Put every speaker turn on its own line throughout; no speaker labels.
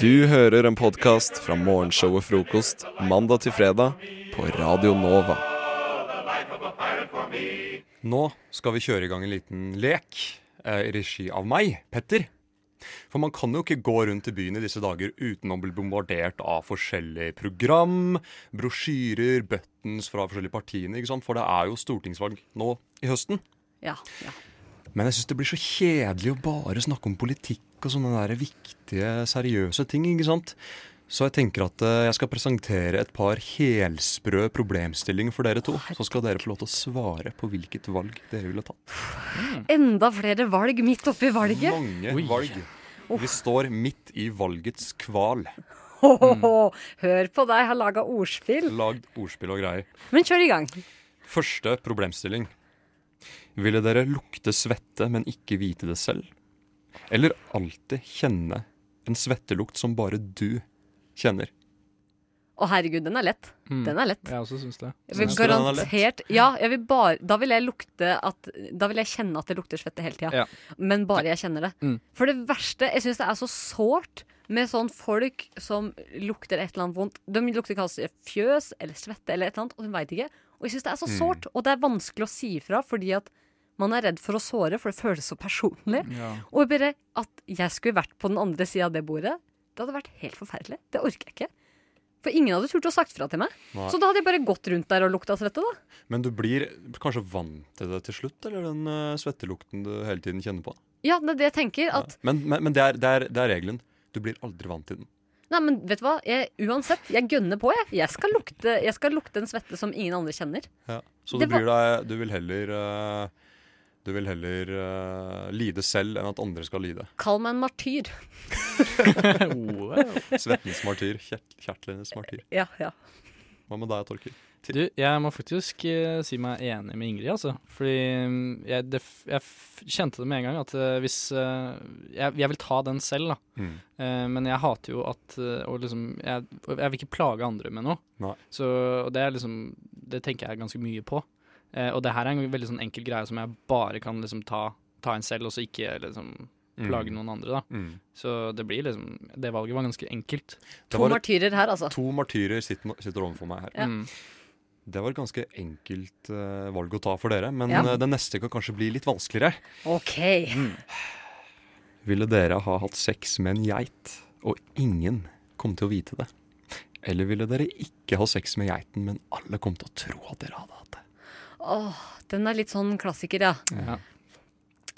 Du hører en podkast fra morgenshow og frokost mandag til fredag på Radio Nova.
Nå skal vi kjøre i gang en liten lek eh, i regi av meg, Petter. For man kan jo ikke gå rundt i byen i disse dager uten å bli bombardert av forskjellige program, brosjyrer, buttons fra forskjellige partiene, ikke sant? For det er jo stortingsvalg nå i høsten.
Ja, ja.
Men jeg syns det blir så kjedelig å bare snakke om politikk og sånne der viktige, seriøse ting, ikke sant? Så jeg tenker at eh, jeg skal presentere et par helsprø problemstillinger for dere to. Så skal dere få lov til å svare på hvilket valg dere ville tatt.
Enda flere valg midt oppi valget.
Mange valg. Vi står midt i valgets kval.
Åhåhå, Hør på deg, har laga ordspill.
Lagd ordspill og greier.
Men kjør i gang.
Første problemstilling. Ville dere lukte svette, men ikke vite det selv? Eller alltid kjenne en svettelukt som bare du kjenner?
Å herregud, den er lett. Den er lett.
Jeg også syns det.
Jeg vil
Syns Mm. du den er lett?
garantert Ja, jeg vil bare Da vil jeg lukte at Da vil jeg kjenne at det lukter svette hele tida.
Ja.
Men bare jeg kjenner det.
Mm.
For det verste Jeg syns det er så sårt med sånn folk som lukter et eller annet vondt. De lukter kanskje fjøs eller svette eller et eller annet, og hun veit ikke. Og jeg syns det er så
Mm.
sårt. Og det er vanskelig å si ifra fordi at man er redd for å såre, for det føles så personlig.
Ja.
Og bare at jeg skulle vært på den andre sida av det bordet, det hadde vært helt forferdelig. Det orker jeg ikke. For ingen hadde turt å sagt fra til meg.
Nei.
Så da hadde jeg bare gått rundt der og lukta svette, da.
Men du blir kanskje vant til det til slutt, eller den eh, svettelukten du hele tiden kjenner på?
Ja, det er det jeg tenker.
Ja.
At
Men, men, men det, er, det, er, det er regelen. Du blir aldri vant til den.
Nei, men vet du hva? Jeg, uansett, jeg gønner på, jeg. Jeg skal, lukte, jeg skal lukte en svette som ingen andre kjenner.
Ja. Så du
Det var-
bryr deg Du vil heller eh, Du vil heller eh, lide selv enn at andre skal lide.
Kall meg en martyr.
Svettens martyr. Kjert, kjertlenes martyr.
Ja, ja.
Hva med deg, Torkil?
Du, jeg må faktisk eh, si meg enig med Ingrid, altså. Fordi mm, jeg, det, f- jeg f- kjente det med en gang at eh, hvis eh, jeg, jeg vil ta den selv, da.
Mm.
Eh, men jeg hater jo at eh, å liksom jeg, jeg vil ikke plage andre med noe.
Nei.
Så og det er liksom Det tenker jeg ganske mye på. Eh, og det her er en veldig sånn enkel greie som jeg bare kan liksom ta, ta en selv, og så ikke liksom plage noen andre, da.
Mm.
Så det blir liksom Det valget var ganske enkelt.
Det
To
var et,
martyrer her, altså.
to martyrer sitter, sitter overfor meg her.
Ja.
Mm.
Det var et ganske enkelt eh, valg å ta for dere, men
Ja.
eh, det neste kan kanskje bli litt vanskeligere.
OK.
Mm. Ville dere ha hatt sex med en geit, og ingen kom til å vite det? Eller ville dere ikke ha sex med geiten, men alle kom til å tro at dere hadde hatt det?
Åh, den er litt sånn klassiker, ja.
Ja.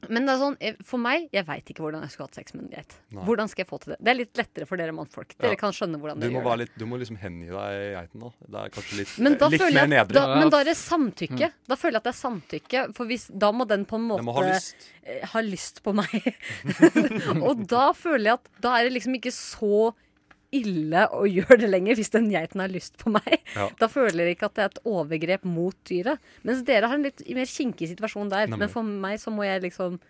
Men det er sånn, eh, for meg, jeg veit ikke hvordan jeg skulle hatt sex med en geit.
Nei.
Hvordan skal jeg få til det? Det er litt lettere for dere mannfolk. Dere
Ja.
kan skjønne hvordan
Du
dere
må,
gjør det.
være litt, du må liksom hengi deg geiten, da. Det er kanskje litt,
Men da,
litt
føler
mer
jeg,
nedrig.
da, men da er det samtykke. Da føler jeg at det er samtykke, for hvis, da må den på en måte
Den må ha lyst.
eh, har lyst på meg. og da føler jeg at da er det liksom ikke så ille å gjøre det lenger, hvis den geiten har lyst på meg.
Ja.
Da føler jeg ikke at det er et overgrep mot dyret. Mens dere har en litt mer kinkig situasjon der.
Nemlig.
Men for meg så må jeg liksom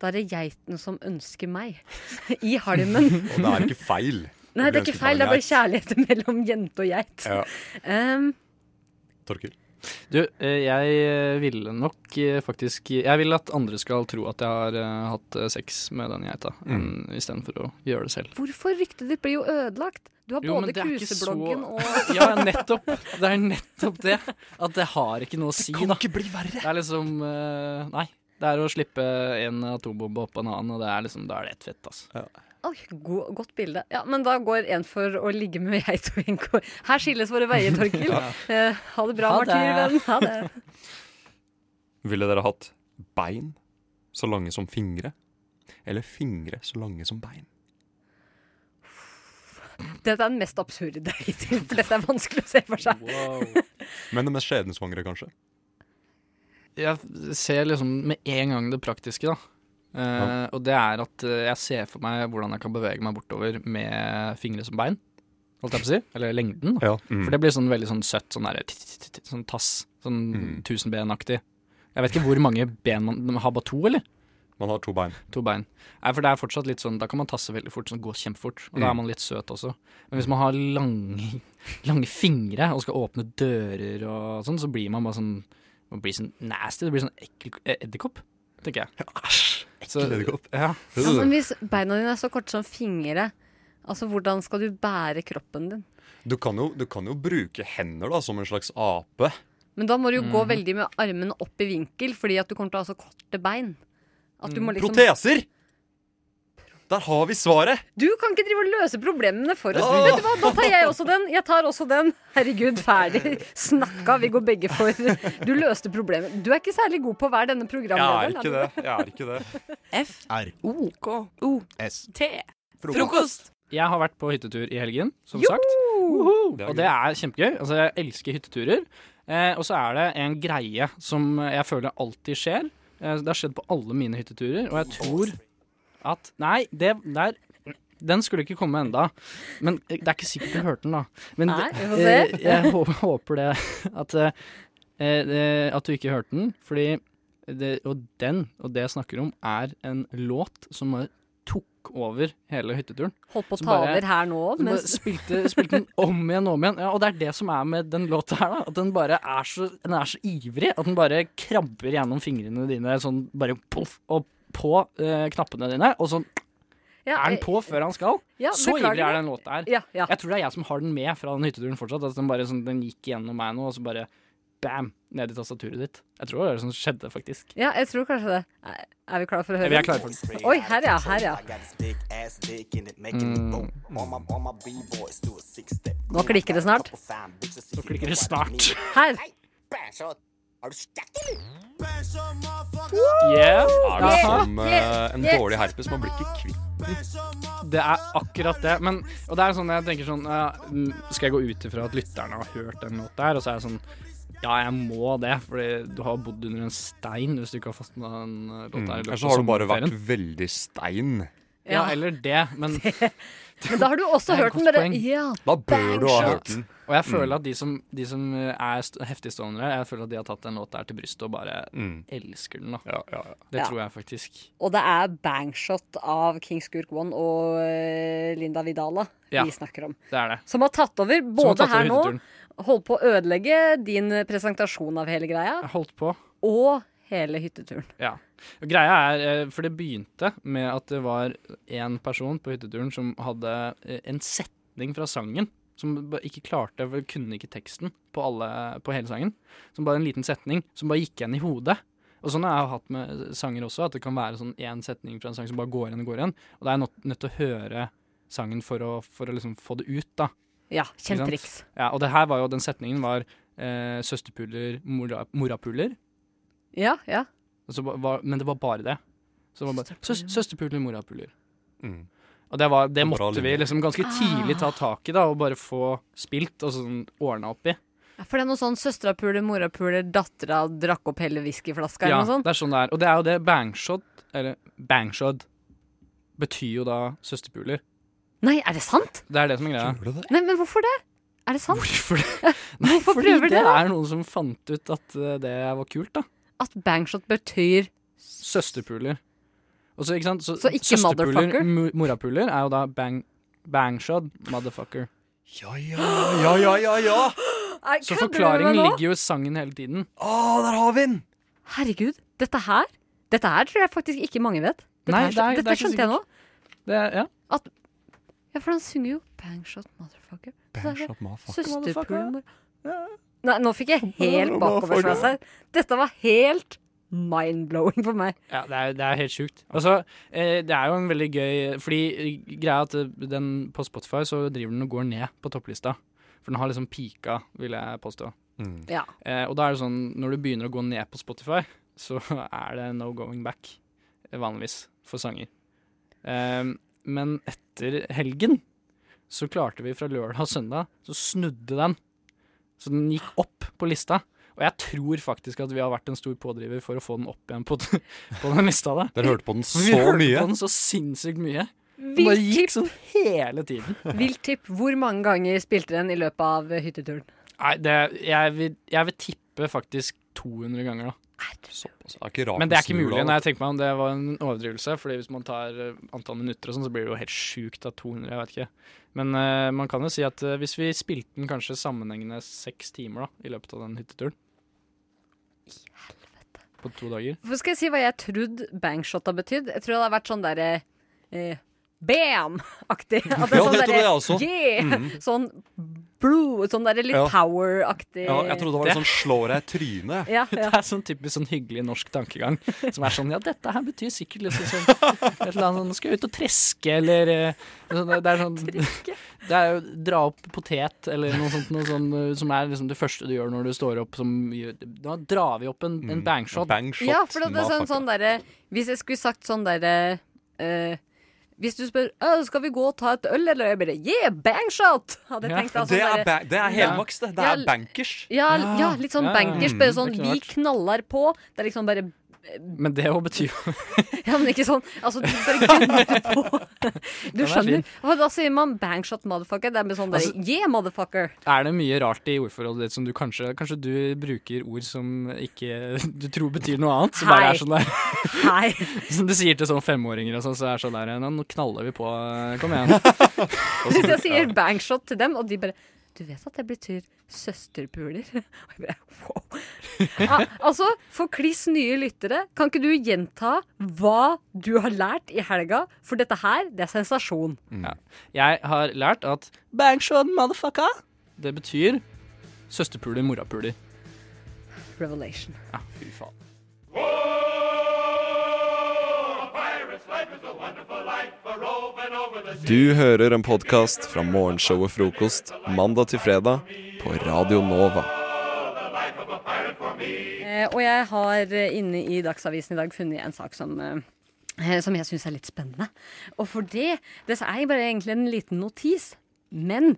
Da er det geiten som ønsker meg. I halmen.
Og det er ikke feil.
Nei, det er ikke feil. Det er bare kjærlighet mellom jente og geit.
Ja.
Um,
Torkil.
Du, eh, jeg eh, ville nok eh, faktisk Jeg vil at andre skal tro at jeg har eh, hatt eh, sex med den geita,
Mm.
enn istedenfor å gjøre det selv.
hvorfor ryktet ditt blir jo ødelagt? Du har
Jo, men
både
det er ikke så-
krusebloggen og
Ja, nettopp! Det er nettopp det. At det har ikke noe å si, da.
ikke bli verre!
Det er liksom eh, Nei. Det er å slippe en atombombe opp av en annen, og det er liksom, da er det ett fett, altså.
Oi, go godt bilde. Ja, Men da går en for å ligge med geit og en går Her skilles våre veier, Torkil. Eh, ha det bra,
Ha det.
martyrvenn. Ha det.
Ville dere hatt bein så lange som fingre? Eller fingre så lange som bein?
Dette er den mest absurde hittil, for dette er vanskelig å se for seg.
Men det mest skjebnesvangre, kanskje.
Jeg ser liksom med en gang det praktiske, da. Eh, Og det er at eh, jeg ser for meg hvordan jeg kan bevege meg bortover med fingre som bein, holdt jeg på å si. Eller lengden, da.
Ja.
For det blir sånn veldig sånn søtt, sånn der, titt, titt, titt, sånn tass, sånn
Mm.
tusenbenaktig. Jeg vet ikke hvor mange ben man man har, bare to, eller?
Man har to bein.
To bein. Nei, for det er fortsatt litt sånn, da kan man tasse veldig fort, sånn gå kjempefort,
Mm.
og da er man litt søt også. Men hvis man har lange, lange fingre og skal åpne dører og sånn, så blir man bare sånn, man blir sånn nasty, det blir sånn ekkel eh, edderkopp, tenker jeg.
Æsj!
Så-
edderkopp.
Ja.
Ja, men hvis beina dine er så korte som fingre Altså, hvordan skal du bære kroppen din?
Du kan jo, du kan jo bruke hender da, som en slags ape.
Men da må du jo
Mm.
gå veldig med armene opp i vinkel, fordi at du kommer til å ha så korte bein. At du, må
Mm.
Mm.
liksom,
Proteser! Der har vi svaret!
du kan ikke drive og løse problemene for oss.
Åh!
Vet du hva, Da tar jeg også den. Jeg tar også den. Herregud, ferdig. Snakka. Vi går begge for Du løste problemet. Du er ikke særlig god på å være denne
Jeg er
programlederen.
ikke det. Jeg er ikke det.
F,
R.
O, K, O,
S.
T. Frokost.
Jeg har vært på hyttetur i helgen, som
Joho!
sagt.
Det er gøy.
Og det er kjempegøy. Altså, jeg elsker hytteturer. Eh, og så er det en greie som jeg føler alltid skjer. Eh, det har skjedd på alle mine hytteturer, og jeg tror at Nei, det der den skulle ikke komme enda, men eh, det er ikke sikkert du hørte den, da. Men
Nei,
det-
vi får se.
eh, jeg hå- håper det at, eh, eh, at du ikke hørte den. Fordi det, Og den, og det jeg snakker om, er en låt som bare tok over hele hytteturen.
Holdt på å
Som
ta
bare-
over her nå
Så bare
men
spilte, spilte den om igjen og om igjen. Ja, og det er det som er med den låta her, da. At den bare er så, den er så ivrig. At den bare krabber gjennom fingrene dine, sånn bare poff, og på eh, knappene dine. Og sånn
ja, eh,
er den på før han skal.
ja,
så
beklager
ivrig er
det.
den låta her.
Ja, ja.
Jeg tror det er jeg som har den med fra den hytteturen fortsatt. At den bare sånn, den gikk gjennom meg nå, og så bare bam, ned i tastaturet ditt. Jeg tror det var det som skjedde, faktisk.
ja, jeg tror kanskje det. Er- Er vi klare for å høre?
Vi er klare for den.
Oi, her ja, her ja.
Nå klikker det snart.
Nå
klikker det snart.
Her.
Yeah.
Er det
Jaha.
som eh, en dårlig herpes man blir ikke kvitt?
Det er akkurat det. Men, og det er sånn jeg tenker sånn ja, mm, Skal jeg gå ut ifra at lytterne har hørt den låta her? Og så er jeg sånn Ja, jeg må det, fordi du har bodd under en stein hvis du ikke har fått med den eh, låta her. i
Mm. Eller
løpet av
så har du bare vært
sommerferien.
veldig stein.
Ja, eller det, men
Men da har du også
Det er et
hørt den. Bare,
godt poeng.
ja,
Da bør du ha hørt den. Mm.
Og jeg føler at de som, de som eh, er st heftig stående, jeg føler at de har tatt den låta her til brystet og bare elsker den, da.
Mm. Ja, ja, ja.
Det
Ja.
tror jeg faktisk.
Og det er bangshot av King Skurk One og eh, Linda Vidala
Ja.
vi snakker om.
Det er det.
Som har tatt over
Som har
både
tatt over
her nå,
hytteturen.
holdt på å ødelegge din presentasjon av hele greia,
Jeg holdt på.
og hele hytteturen.
Ja. Og Greia er, eh, for det begynte med at det var en person på hytteturen som hadde eh, en setning fra sangen som ba- ikke klarte, for kunne ikke teksten på, alle, på hele sangen. Som bare en liten setning som bare gikk igjen i hodet. Og sånn har jeg hatt med sanger også, at det kan være sånn én setning fra en sang som bare går igjen og går igjen. Og da er jeg nødt, nødt til å høre sangen for å, for å liksom få det ut, da.
Ja, kjent
Ikke sant?
triks.
Ja, og det her var jo, den setningen var eh, søsterpuler, mora, morapuler.
Ja, ja.
Og så ba- var, men det var bare det. Så det var bare, Søs, søsterpuler, morapuler.
Mm.
Og det, var, det
Bra
måtte vi
linje.
liksom ganske tidlig
Ah.
ta tak i da, og bare få spilt og sånn ordna opp i.
For det er noe sånn søstera puler, mora puler, dattera drakk opp hele whiskyflaska eller
Ja,
noe sånt.
det er sånn det er. Og det er jo det bangshot, eller bangshot, betyr jo da søsterpuler.
Nei, er det sant?
Det er det som er greia.
Gjorde du det?
Nei, men hvorfor det? Er det sant?
Hvorfor det?
Hvorfor
fordi
prøver
det
dere?
er noen som fant ut at eh, det var kult, da.
At bangshot betyr
Søsterpuler. Og så, ikke sant?
Så ikke motherfucker?
mo- Morapuler er jo da bang, bangshot, motherfucker.
Ja, ja, ja, ja, ja, ja!
Så forklaringen ligger jo i sangen hele tiden.
Å, der har vi den!
Herregud, dette her Dette her tror jeg faktisk ikke mange vet. Dette,
Nei,
her,
det er- det er
dette
ikke
skjønte jeg nå.
sikkert. Det, ja.
Ja, for han synger jo Bangshot motherfucker.
Bangshot, motherfucker.
Søsterpulmor. Nei, nå fikk jeg helt bakoversveis her. Dette var helt mind-blowing for meg.
Ja, det er, det er helt sjukt. Altså, eh, det er jo en veldig gøy Fordi eh, greia er at eh, den på Spotify så driver den og går ned på topplista. For den har liksom pika, vil jeg påstå.
Mm.
Ja.
Eh, og da er det sånn, når du begynner å gå ned på Spotify, så er det no going back, eh, vanligvis, for sanger. Eh, men etter helgen så klarte vi fra lørdag og søndag, så snudde den. Så den gikk opp på lista. Og jeg tror faktisk at vi har vært en stor pådriver for å få den opp igjen på, på den lista. da.
Dere hørte på den
Vi
så
hørte
mye.
på den så sinnssykt mye. Den bare
Vilt
gikk
tipp,
sånn hele tiden.
vilt tipp. Hvor mange ganger spilte den i løpet av eh, hytteturen?
Nei, det, jeg, vil, jeg vil tippe faktisk 200 ganger, da.
Såpass. Det er ikke rart
Men det er
den
ikke
snur
mulig
da.
når jeg tenker meg om det var en overdrivelse. Fordi hvis man tar eh, antall minutter og sånn, så blir det jo helt sjukt av 200. Jeg vet ikke. Men eh, man kan jo si at eh, hvis vi spilte den kanskje sammenhengende seks timer da, i løpet av den hytteturen På to dager.
For skal jeg si hva jeg trodde bangshot har betydd? Jeg tror det har vært sånn derre eh, bam-aktig. At det
Ja,
er sånn
det tror jeg også. Mhm.
derre yeah! Sånn blue, sånn derre litt
Ja.
power-aktig.
Ja, jeg trodde det var en sånn slå deg i trynet.
ja, ja.
Det er sånn typisk sånn hyggelig norsk tankegang. Som er sånn ja, dette her betyr sikkert liksom sånn et eller annet sånn Skal jeg ut og treske, eller eh, sånn, Det er sånn Det er jo dra opp potet, eller noe sånt noe sånn, eh, som er liksom det første du gjør når du står opp som gjør- Da drar vi opp en, en bangshot.
Bang shot.
Ja, for det er sånn,
Mm, Motherfucker.
sånn derre Hvis jeg skulle sagt sånn derre eh, Hvis du spør «Å, skal vi gå og ta et øl, eller? Jeg bare Yeah, bangshot! Hadde jeg
Ja,
tenkt da.
det,
Sånn
er
derre-
ba det er helmaks, det. Det
Ja,
er bankers. Ah,
ja, ja, litt sånn
Ja, ja.
bankers. Bare sånn
det kunne
vi
vært.
knallar på. Det er liksom bare
Men det òg betyr jo
Ja, men ikke sånn Altså, du bare gunner på. Du
Den er
skjønner.
fin.
Og da sier man bangshot motherfucker. Det er med sånn
Altså-
derre Yeah, motherfucker.
Er det mye rart i ordforrådet ditt som du kanskje Kanskje du bruker ord som ikke du tror betyr noe annet? Som bare
Hei.
er sånn der
Hei.
Som du sier til sånn femåringer og sånn, så er det sånn der Nå knaller vi på, kom igjen.
Hvis jeg sier bangshot til dem, og de bare Du vet at det betyr søsterpuler? Og jeg bare wow. Ah, altså, for kliss nye lyttere, kan ikke du gjenta hva du har lært i helga? For dette her, det er sensasjon.
Mm.
Jeg har lært at Bangshot, motherfucker! Det betyr søsterpuler, morapuler.
Revelation.
Ja, fy faen.
Du hører en podkast fra morgenshow og frokost mandag til fredag på Radio Nova.
Eh, og jeg har eh, inne i Dagsavisen i dag funnet en sak som eh, eh, som jeg syns er litt spennende. Og for det Det er bare egentlig en liten notis. Men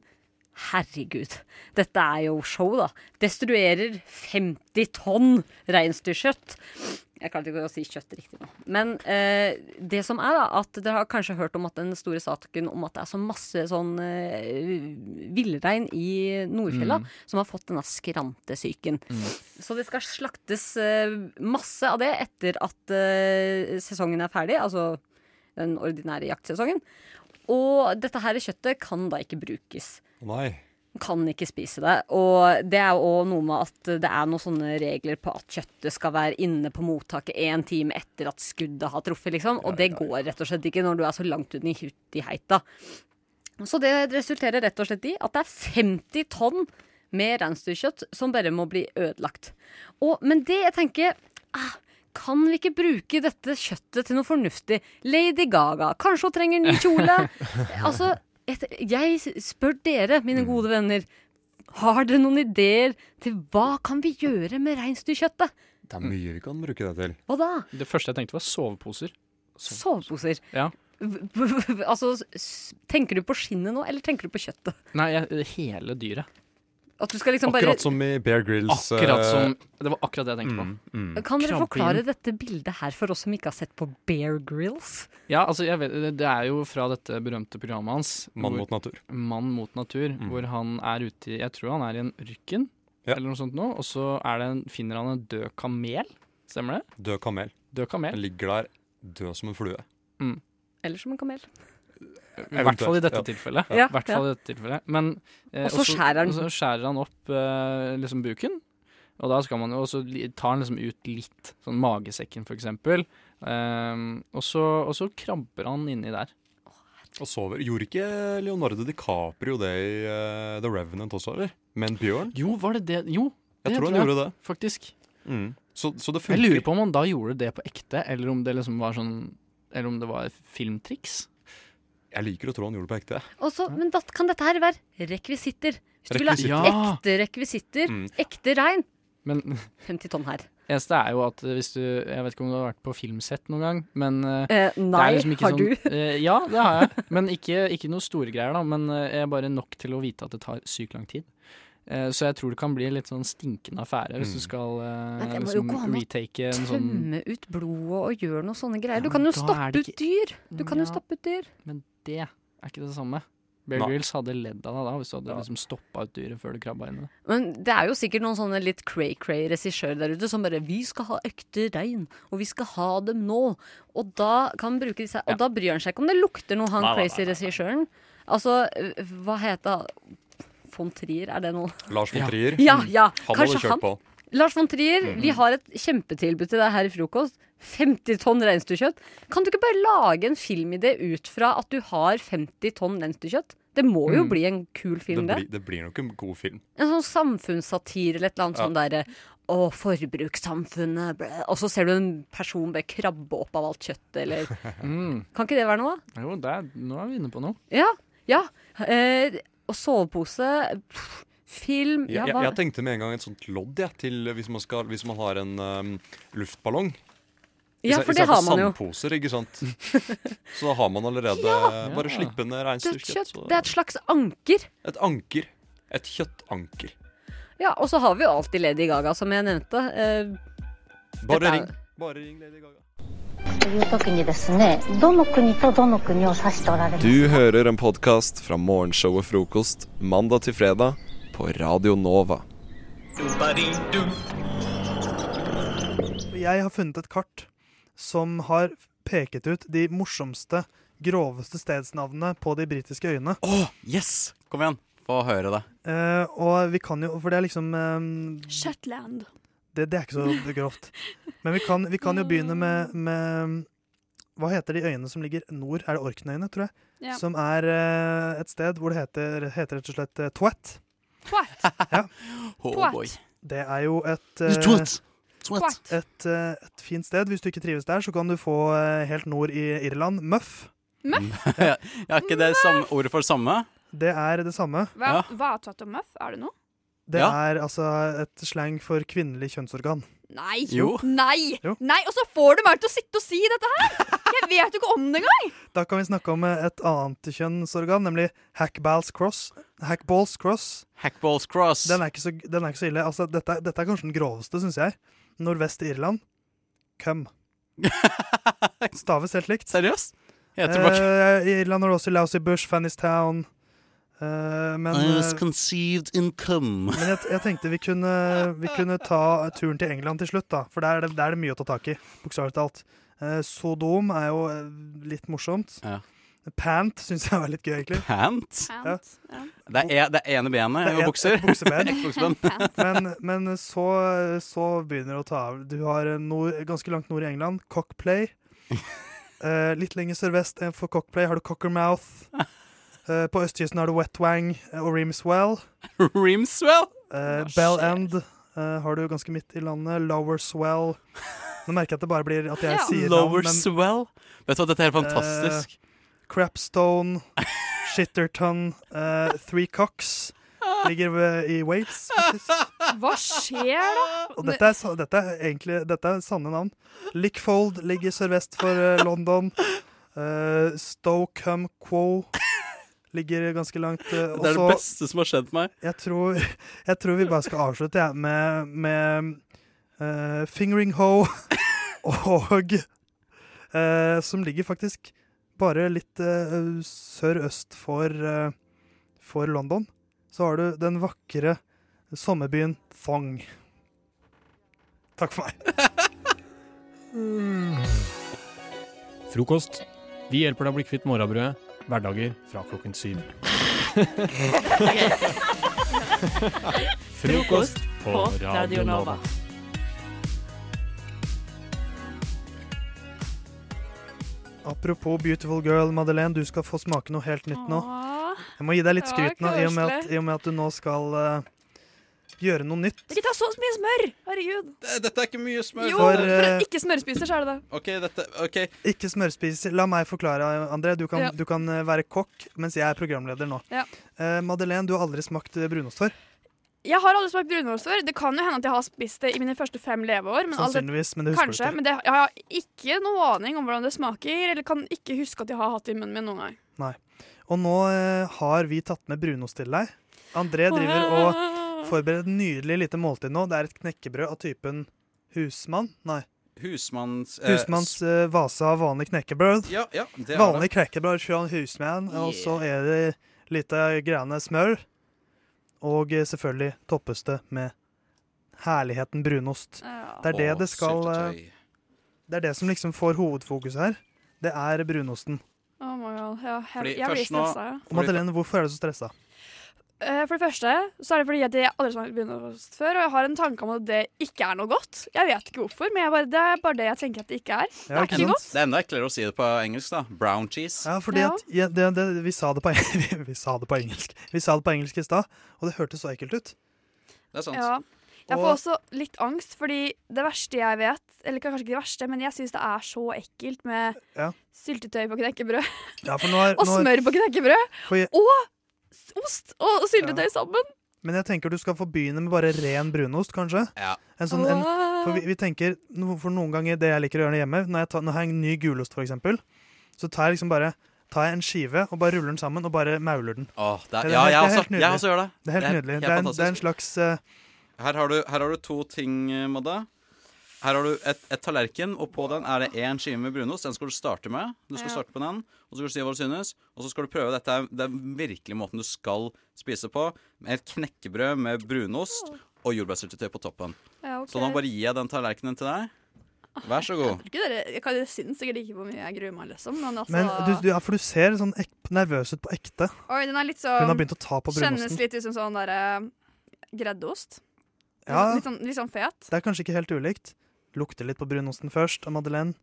herregud, dette er jo show, da. Destruerer 50 tonn reinsdyrkjøtt. Jeg klarte ikke å si kjøtt riktig nå. Men eh, det som er, da, at dere har kanskje hørt om at den store saken om at det er så masse sånn eh, villrein i Nordfjella som har fått denne skrantesyken. Så det skal slaktes eh, masse av det etter at eh, sesongen er ferdig, altså den ordinære jaktsesongen. Og dette her kjøttet kan da ikke brukes
Å nei.
kan ikke spise det. Og det er jo også noe med at det er noen sånne regler på at kjøttet skal være inne på mottaket én time etter at skuddet har truffet, liksom. Og det går rett og slett ikke når du er så langt ut i hutt i heita. Så det resulterer rett og slett i at det er 50 tonn med reinsdyrkjøtt som bare må bli ødelagt. Og, men det jeg tenker ah, kan vi ikke bruke dette kjøttet til noe fornuftig? Lady Gaga, kanskje hun trenger ny kjole? Altså, et, jeg s- spør dere, mine gode venner. Har dere noen ideer til hva kan vi gjøre med reinsdyrkjøttet?
Det er mye vi kan bruke Mm. det til.
Hva da?
Det første jeg tenkte, var soveposer.
Soveposer.
Ja.
altså, s- tenker du på skinnet nå, eller tenker du på kjøttet?
Nei, jeg, hele dyret.
At du skal liksom bare
Akkurat som i Bear eh, mm, Grills.
Akkurat som Det var akkurat det jeg tenkte på.
Kan dere
Krampe
forklare dette bildet her for oss som ikke har sett på Bear Grills?
Ja, altså, jeg vet, det- det er jo fra dette berømte programmet hans,
Mann
hvor-
mot natur. Mm.
Mann mot natur, hvor han er ute i Jeg tror han er i en ørken,
Ja.
eller noe sånt nå, og så er det en, finner han en død kamel. Stemmer det?
Død kamel.
Død kamel.
Den ligger der død som en flue.
Eller som en kamel.
I hvert fall i dette
Ja.
tilfellet.
Ja,
I hvert fall i dette tilfellet. Men, eh,
Og så skjærer han-
og så skjærer han opp eh, liksom buken, og, da skal man, og så li- tar han liksom ut litt, sånn magesekken for eksempel, Ehm, og, så, og så krabber han inni der.
Og sover. Gjorde ikke Leonardo DiCaprio det i eh, The Revenant også, eller? Med en bjørn?
Jo, var det det? Jo, det
Jeg tror han gjorde det.
faktisk.
Mm. Så, så det
Jeg
funker.
lurer på om han da gjorde det på ekte, eller om det liksom var sånn Eller om det var filmtriks.
Jeg liker å tro han gjorde det på ekte.
Og så- men da, kan dette her være rekvisitter? Hvis du vil ha
Rekvisitter.
Ja.
ekte rekvisitter,
Mm.
ekte rein,
Men
50 tonn her.
eneste er jo at eh, hvis du Jeg vet ikke om du har vært på filmsett noen gang, men eh,
Eh,
Det
nei,
er liksom ikke
har du?
sånn, eh, ja, det har jeg. Men ikke, ikke noe store greier, da. Men eh, jeg er bare nok til å vite at det tar sykt lang tid. Eh, så jeg tror det kan bli en litt sånn stinkende affære
Mm.
hvis du skal eh,
Men det må jo
liksom,
gå an å
retake en sånn
Tømme ut blodet og gjøre noe sånne greier.
Ja,
Du kan jo
men da er
stoppe
det
ut dyr. Du kan jo
Ja.
stoppe ut dyr.
Men det er ikke det samme. Bear
Nei.
Grylls hadde ledd av deg da hvis du hadde
Ja.
liksom stoppa ut dyret før du krabba inn i det.
Men det er jo sikkert noen sånne litt cray-cray regissører der ute som bare 'Vi skal ha ekte rein, og vi skal ha dem nå.' Og da kan han bruke disse Og da bryr han seg ikke om det lukter noe, han crazy regissøren. Altså, øh, hva heter han? Von Trier, er det noe?
Lars von Trier. Mm.
Ja, ja!
Han hadde
Kanskje
kjørt
han?
på.
Lars von Trier, vi har et kjempetilbud til deg her i frokost. 50 tonn reinsdyrkjøtt. Kan du ikke bare lage en filmidé ut fra at du har 50 tonn reinsdyrkjøtt? Det må jo bli en kul
Det
film, det.
blir, det blir nok en god film.
En sånn samfunnssatir eller et eller annet sånn derre Å, forbrukssamfunnet blæ. Og så ser du en person bare krabbe opp av alt kjøttet, eller
Mm.
Kan ikke det være noe? da?
Jo, det er, nå er vi inne på noe.
Ja. Ja. Eh, og sovepose. pff, Film. Mm, Ja,
Jeg, jeg,
hva?
jeg tenkte med en gang et sånt lodd jeg, til hvis man, skal, hvis man har en um, luftballong.
ja for det har man jo.
Sandposer, ikke sant? Så da har man allerede bare
Ja.
slippende
Dødskjøtt.
reinsdyrkjøtt.
Det er
så-
et slags anker.
Et anker. Et kjøttanker.
Ja, og så har vi jo alltid Lady Gaga, som jeg nevnte. Eh,
Bare
Dette er-
ring. Bare ring Lady Gaga.
という時にですねどの国とどの国を指しておられる
Du hører en podkast fra morgenshowet Frokost mandag til fredag på Radio Nova.
Jeg har funnet et kart som har peket ut de morsomste, groveste stedsnavnene på de britiske øyene.
Yes! Kom igjen, få høre det.
Eh, og vi kan jo For det er liksom eh,
Shetland.
det, det er ikke så grovt. Men vi kan, vi kan jo begynne med,
Mm.
med ehm, Hva heter de øyene som ligger nord? Er det Orknøyene, tror jeg?
Ja.
Som er eh, et sted hvor det heter, heter rett og slett eh, Twat.
Twat.
Oh,
Twat.
boy.
Det er jo et eh,
Twat. Twat.
Twat.
et, eh, et fint sted. Hvis du ikke trives der, så kan du få eh, helt nord i Irland. Muff.
Mm. Er ikke det samme ordet for samme?
Det er det samme.
Hva,
Ja.
hva er Twat og Muff? Er det noe?
Det
Ja.
er altså et slang for kvinnelig kjønnsorgan.
Nei!
Jo.
Nei!
Jo.
Nei, Og så får du meg til å sitte og si dette her! Jeg vet jo ikke om det engang!
Da kan vi snakke om eh, et annet kjønnsorgan, nemlig hackballs cross. Hackballs cross.
Hackballs cross.
Den er ikke så, den er ikke så ille. Altså, dette, dette er kanskje den groveste, syns jeg. Nordvest i Irland. Cum. Staves helt likt.
Seriøst? Heter det bare
Eh, I Irland har du også Lousy Bush, Fanny's Town. Eh, men
I was
eh,
conceived in cum.
Men jeg, jeg tenkte vi kunne, vi kunne ta turen til England til slutt, da. For der er det, der er det mye å ta tak i, bokstavelig talt. Eh, Sodom er jo eh, litt morsomt.
Ja.
Pant syns jeg var litt gøy, egentlig.
Pant?
Pant. Ja.
Det er, e, det er ene benet
Det er
og bukser.
et bukseben.
Bukseben.
Pant.
Men, men så, så begynner det å ta av. Du har eh, nord, ganske langt nord i England. Cockplay. Eh, litt lenger sørvest enn for Cockplay har du Cockermouth. Eh, på østkysten har du Wet Wang eh, og Reamswell.
Rimswell.
Eh,
Hva
Bell
skjer?
End eh, har du ganske midt i landet. Lower Swell. Nå merker jeg at det bare blir at jeg
Ja.
sier
Lower
navn,
swell. Vet du hva, dette er helt fantastisk.
men Crapstone, Shitterton, eh, Three Cocks ligger ved, i Wales, faktisk.
Hva skjer da?
Og dette er, sa- dette er egentlig dette er sanne navn. Lickfold ligger sørvest for eh, London. Uh, Stowcum Quo ligger ganske langt. eh, og
det er det
så-
beste som har skjedd meg.
jeg tror, jeg tror vi bare skal avslutte jeg, med, med eh, Fingering Ho og eh, Som ligger faktisk bare litt eh, sør-øst for, eh, for London. Så har du den vakre sommerbyen Thong. Takk for meg.
Frokost. Vi hjelper deg å bli kvitt morrabrødet. Hverdager fra klokken syv. Frokost på Radio Nova.
Apropos Beautiful Girl, Madeleine. Du skal få smake noe helt nytt nå.
Åh.
Jeg må gi deg litt
Ja,
skryt nå, i og med at,
koselig.
i og med at du nå skal eh, gjøre noe nytt.
Ikke ta så mye smør! Herregud.
Dette er ikke mye smør.
Jo,
For,
for
eh,
en ikke-smørspiser, så er det det.
OK, dette OK.
Ikke smørspiser. La meg forklare, André. Du kan,
Ja.
du kan eh, være kokk mens jeg er programleder nå.
Ja.
Eh, Madeleine, du har aldri smakt eh, brunost før.
Jeg har aldri smakt brunost før. Det kan jo hende at jeg har spist det i mine første fem leveår. Men alt det
Sannsynligvis, men det husker
Kanskje,
du ikke.
men det, jeg har ikke noe aning om hvordan det smaker, eller kan ikke huske at jeg har hatt det i munnen min noen gang.
Og nå eh, har vi tatt med brunost til deg. André driver og forbereder et nydelig lite måltid nå. Det er et knekkebrød av typen husmann. Nei,
Husmanns... eh,
husmanns eh, vase av vanlig knekkebrød.
Ja, ja, det er det.
Vanlig knekkebrød fra en husmann, og så er det lite greiene smør. Og eh, selvfølgelig toppes det med herligheten brunost.
Ja.
Det er det
Å,
det skal eh,
syltetøy.
Det er det som liksom får hovedfokuset her. Det er brunosten.
Oh my god. Ja, jeg,
Fordi
jeg blir
først nå-
stressa. Ja.
Og Madeleine, hvorfor er du så stressa?
Eh, For det første så er det fordi at jeg aldri har smakt brunost før, og jeg har en tanke om at det ikke er noe godt. Jeg vet ikke hvorfor, men jeg bare, det er bare det jeg tenker at det ikke er.
Ja,
det er ikke godt.
Det er enda eklere å si det på engelsk, da. Brown cheese.
Ja, fordi
Ja.
at ja, det, det, vi, sa det på, eng- vi sa det på engelsk Vi sa det på engelsk i stad, og det hørtes så ekkelt ut.
Det er sant.
Ja. Jeg får
Og-
også litt angst, fordi det verste jeg vet, eller kanskje ikke det verste, men jeg syns det er så ekkelt med
Ja.
syltetøy på knekkebrød,
Ja, for nå er,
og
nå er,
smør på knekkebrød,
for jeg,
s- ost og syltetøy sammen.
men jeg tenker du skal få begynne med bare ren brunost, kanskje.
Ja.
En sånn, en,
Wow.
for vi, vi tenker, no- for noen ganger det jeg liker å gjøre hjemme, når jeg, tar, når jeg har en ny gulost for eksempel, så tar jeg liksom bare tar jeg en skive og bare ruller den sammen og bare mauler den.
Åh, det
Det
er,
er
ja,
helt-
jeg
det er
også,
helt nydelig.
jeg også gjør det.
Det er helt nydelig. Det er, en, det er en
fantastisk.
slags eh,
Her har, du, her har du to ting, eh, Madda. Her har du et, et tallerken, og på den er det én skive med brunost. Den skal du starte med. Du skal
Ja.
starte på den, og så skal du si hva du synes. Og så skal du prøve dette. er- Det er virkelig måten du skal spise på. Med et knekkebrød med brunost og jordbærsyltetøy på toppen.
Ja, ok.
Så nå bare gir jeg den tallerkenen til deg. Vær så god.
Ikke dere, jeg kan- dere syns sikkert ikke hvor mye jeg gruer meg, liksom, men altså
Men du, du, ja, for du ser sånn ek, nervøs ut på ekte.
Oi, den er litt
Hun
sånn
har begynt å ta på
Kjennes
brunosten.
litt ut som sånn derre greddeost.
Ja,
Litt, sånn, litt sånn fet.
det er kanskje ikke helt ulikt. Lukter litt på brunosten først av Madeleine.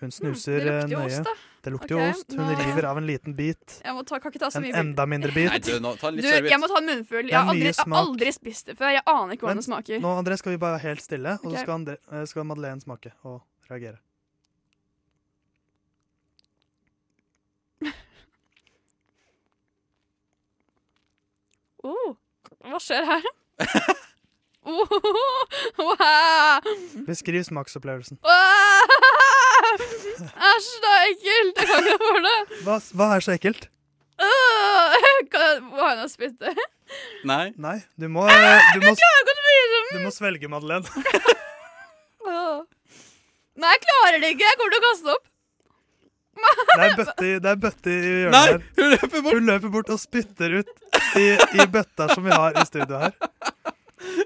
Hun snuser
Mm, det lukter
eh,
jo
nøye.
ost, da.
Det lukter jo
Ok,
ost. Hun
nå-
river av en liten bit.
Jeg må ta, kan ikke ta så
En
mye
enda mindre
Nei,
bit.
du, nå, ta en
Du,
litt
jeg må
serviett.
ta en munnfull.
Det
Jeg
er
har aldri,
mye
jeg har
smak.
aldri spist det før. Jeg aner ikke hvordan det smaker.
Nå André, skal vi bare være helt stille, og så
Ok.
skal, Andre, eh, skal Madeleine smake og reagere.
Oh, hva skjer her? Oh, wow.
Beskriv smaksopplevelsen.
Æsj, det er ekkelt! Jeg kan ikke for det.
Hva, hva er så ekkelt?
Åh, kan- Må han ha spytt det?
Nei.
Nei, du må, eh, du må,
Ah, Jeg kan ikke spise det.
du må svelge, Madeleine.
Åh. Nei, jeg klarer det ikke. Jeg kommer til å kaste opp.
Det er bøtte, i- det er bøtte i
Nei!
hjørnet her.
Hun løper bort!
Hun løper bort og spytter ut i, i bøtta som vi har i studio her.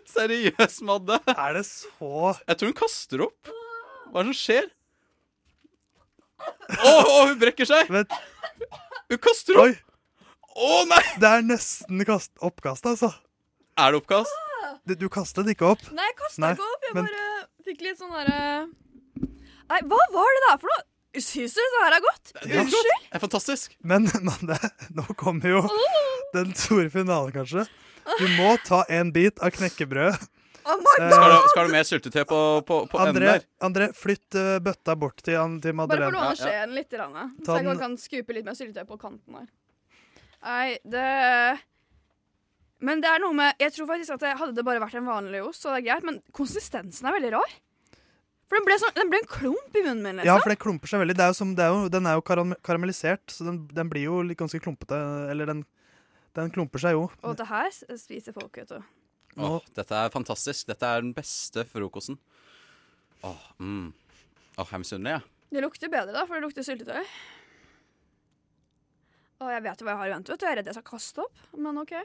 Seriøst, Madde.
Er det så
Jeg tror hun kaster opp. Hva er det som skjer? Å, å, hun brekker seg!
Vent,
Hun kaster opp!
oi!
Å, nei!
Det er nesten kast, oppkast, altså.
Er det oppkast?
Du, du kastet ikke opp.
Nei, jeg kasta
Nei,
ikke opp. Jeg
men-
bare fikk litt sånn derre Nei, hva var det der for noe? Syns dere det her er godt?
Det er
Unnskyld?
Det er fantastisk.
Men, men det, nå kommer jo den store finalen, kanskje. Du må ta en bit av knekkebrødet.
Oh my
Eh,
Skal du, skal du mer syltetøy på, på, på enden
André,
der?
André, flytt eh, bøtta bort til, An- til
Bare få
Madeleine.
låne
Ja, ja.
skjeen litt, grann, da.
Ta
så jeg
den-
kan, kan skupe litt mer syltetøy på kanten her. Nei, det Men det er noe med Jeg tror faktisk at det hadde det bare vært en vanlig ost, så det er greit, men konsistensen er veldig rar. For den ble, sånn, den ble en klump i munnen min,
Ja,
liksom.
for det klumper seg veldig. Det er jo som, det er jo, den er jo karam karamellisert, så den, den blir jo litt ganske klumpete. Eller den, den klumper seg jo.
Og det her s- spiser folk, vet du.
Åh, dette er fantastisk. Dette er den beste frokosten. Åh, mm. Åh, jeg er misunnelig, jeg.
Det lukter bedre, da, for det lukter syltetøy. Og jeg vet jo hva jeg har i vente, vet du. Jeg er redd jeg skal kaste opp, men OK.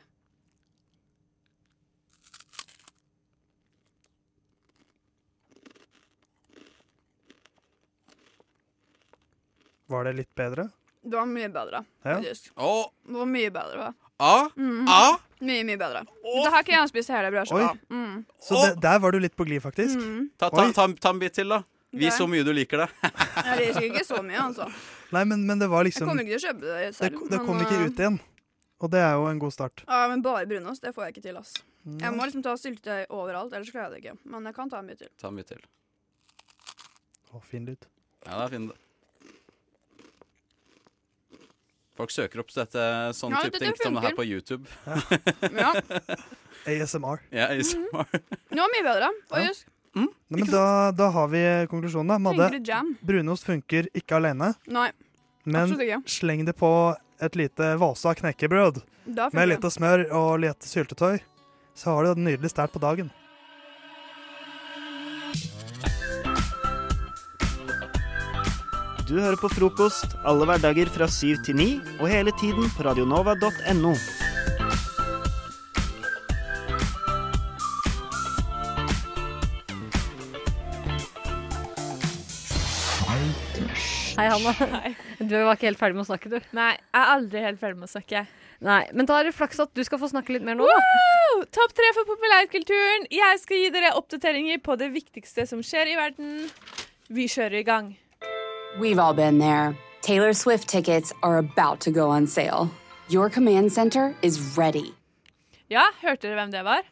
Var det litt bedre?
Det var mye bedre,
Ja.
faktisk. Mm.
Åh,
Det var mye bedre.
ah, ah.
Mye, mye bedre. Det her kan jeg spise hele brødskiva. Mm.
Så det, der var du litt på glid, faktisk.
Mm.
Ta, ta,
Oi.
ta, ta en bit til, da. Vis
Ok.
hvor mye du liker det.
Jeg liker ikke så mye, altså.
Nei, men, men det var
Jeg
liksom
kommer
det,
ikke til å kjøpe det selv.
det kom
men,
ikke
eh,
ut igjen. Og det er jo en god start.
Ja, men bare brunost, det får jeg ikke til, ass. Jeg må liksom ta syltetøy overalt, ellers klarer jeg det ikke. Men jeg kan ta en bit til.
Ta en bit til.
Å, fin lyd.
Ja, det er fint. Folk søker opp dette, sånne
Ja,
type
dette
ting som det her
funker.
på YouTube.
Ja, Mhm.
ASMR.
Ja, ASMR.
det var mye bedre. Og
Ja.
just,
Nei, men da, da har vi konklusjonen, da. Madde,
Mm, trenger du jam?
brunost funker ikke alene,
Nei,
men
absolutt ikke.
sleng det på et lite vase av knekkebrød
Da fikk
med
jeg-
litt av smør og litt syltetøy. Så har du en nydelig start på dagen.
Du hører på frokost alle hverdager fra syv til ni, og hele tiden på radionova.no.
Hei, Hanna. Du var ikke helt ferdig med å snakke, du.
Nei, jeg er aldri helt ferdig med å snakke.
Nei, Men da er det flaks at du skal få snakke litt mer nå. da.
Woo! Topp tre for populærkulturen. Jeg skal gi dere oppdateringer på det viktigste som skjer i verden. Vi kjører i gang.
We've all been there. Taylor Swift tickets are about to go on sale. Your command center is ready.
Ja, hørte dere hvem det var?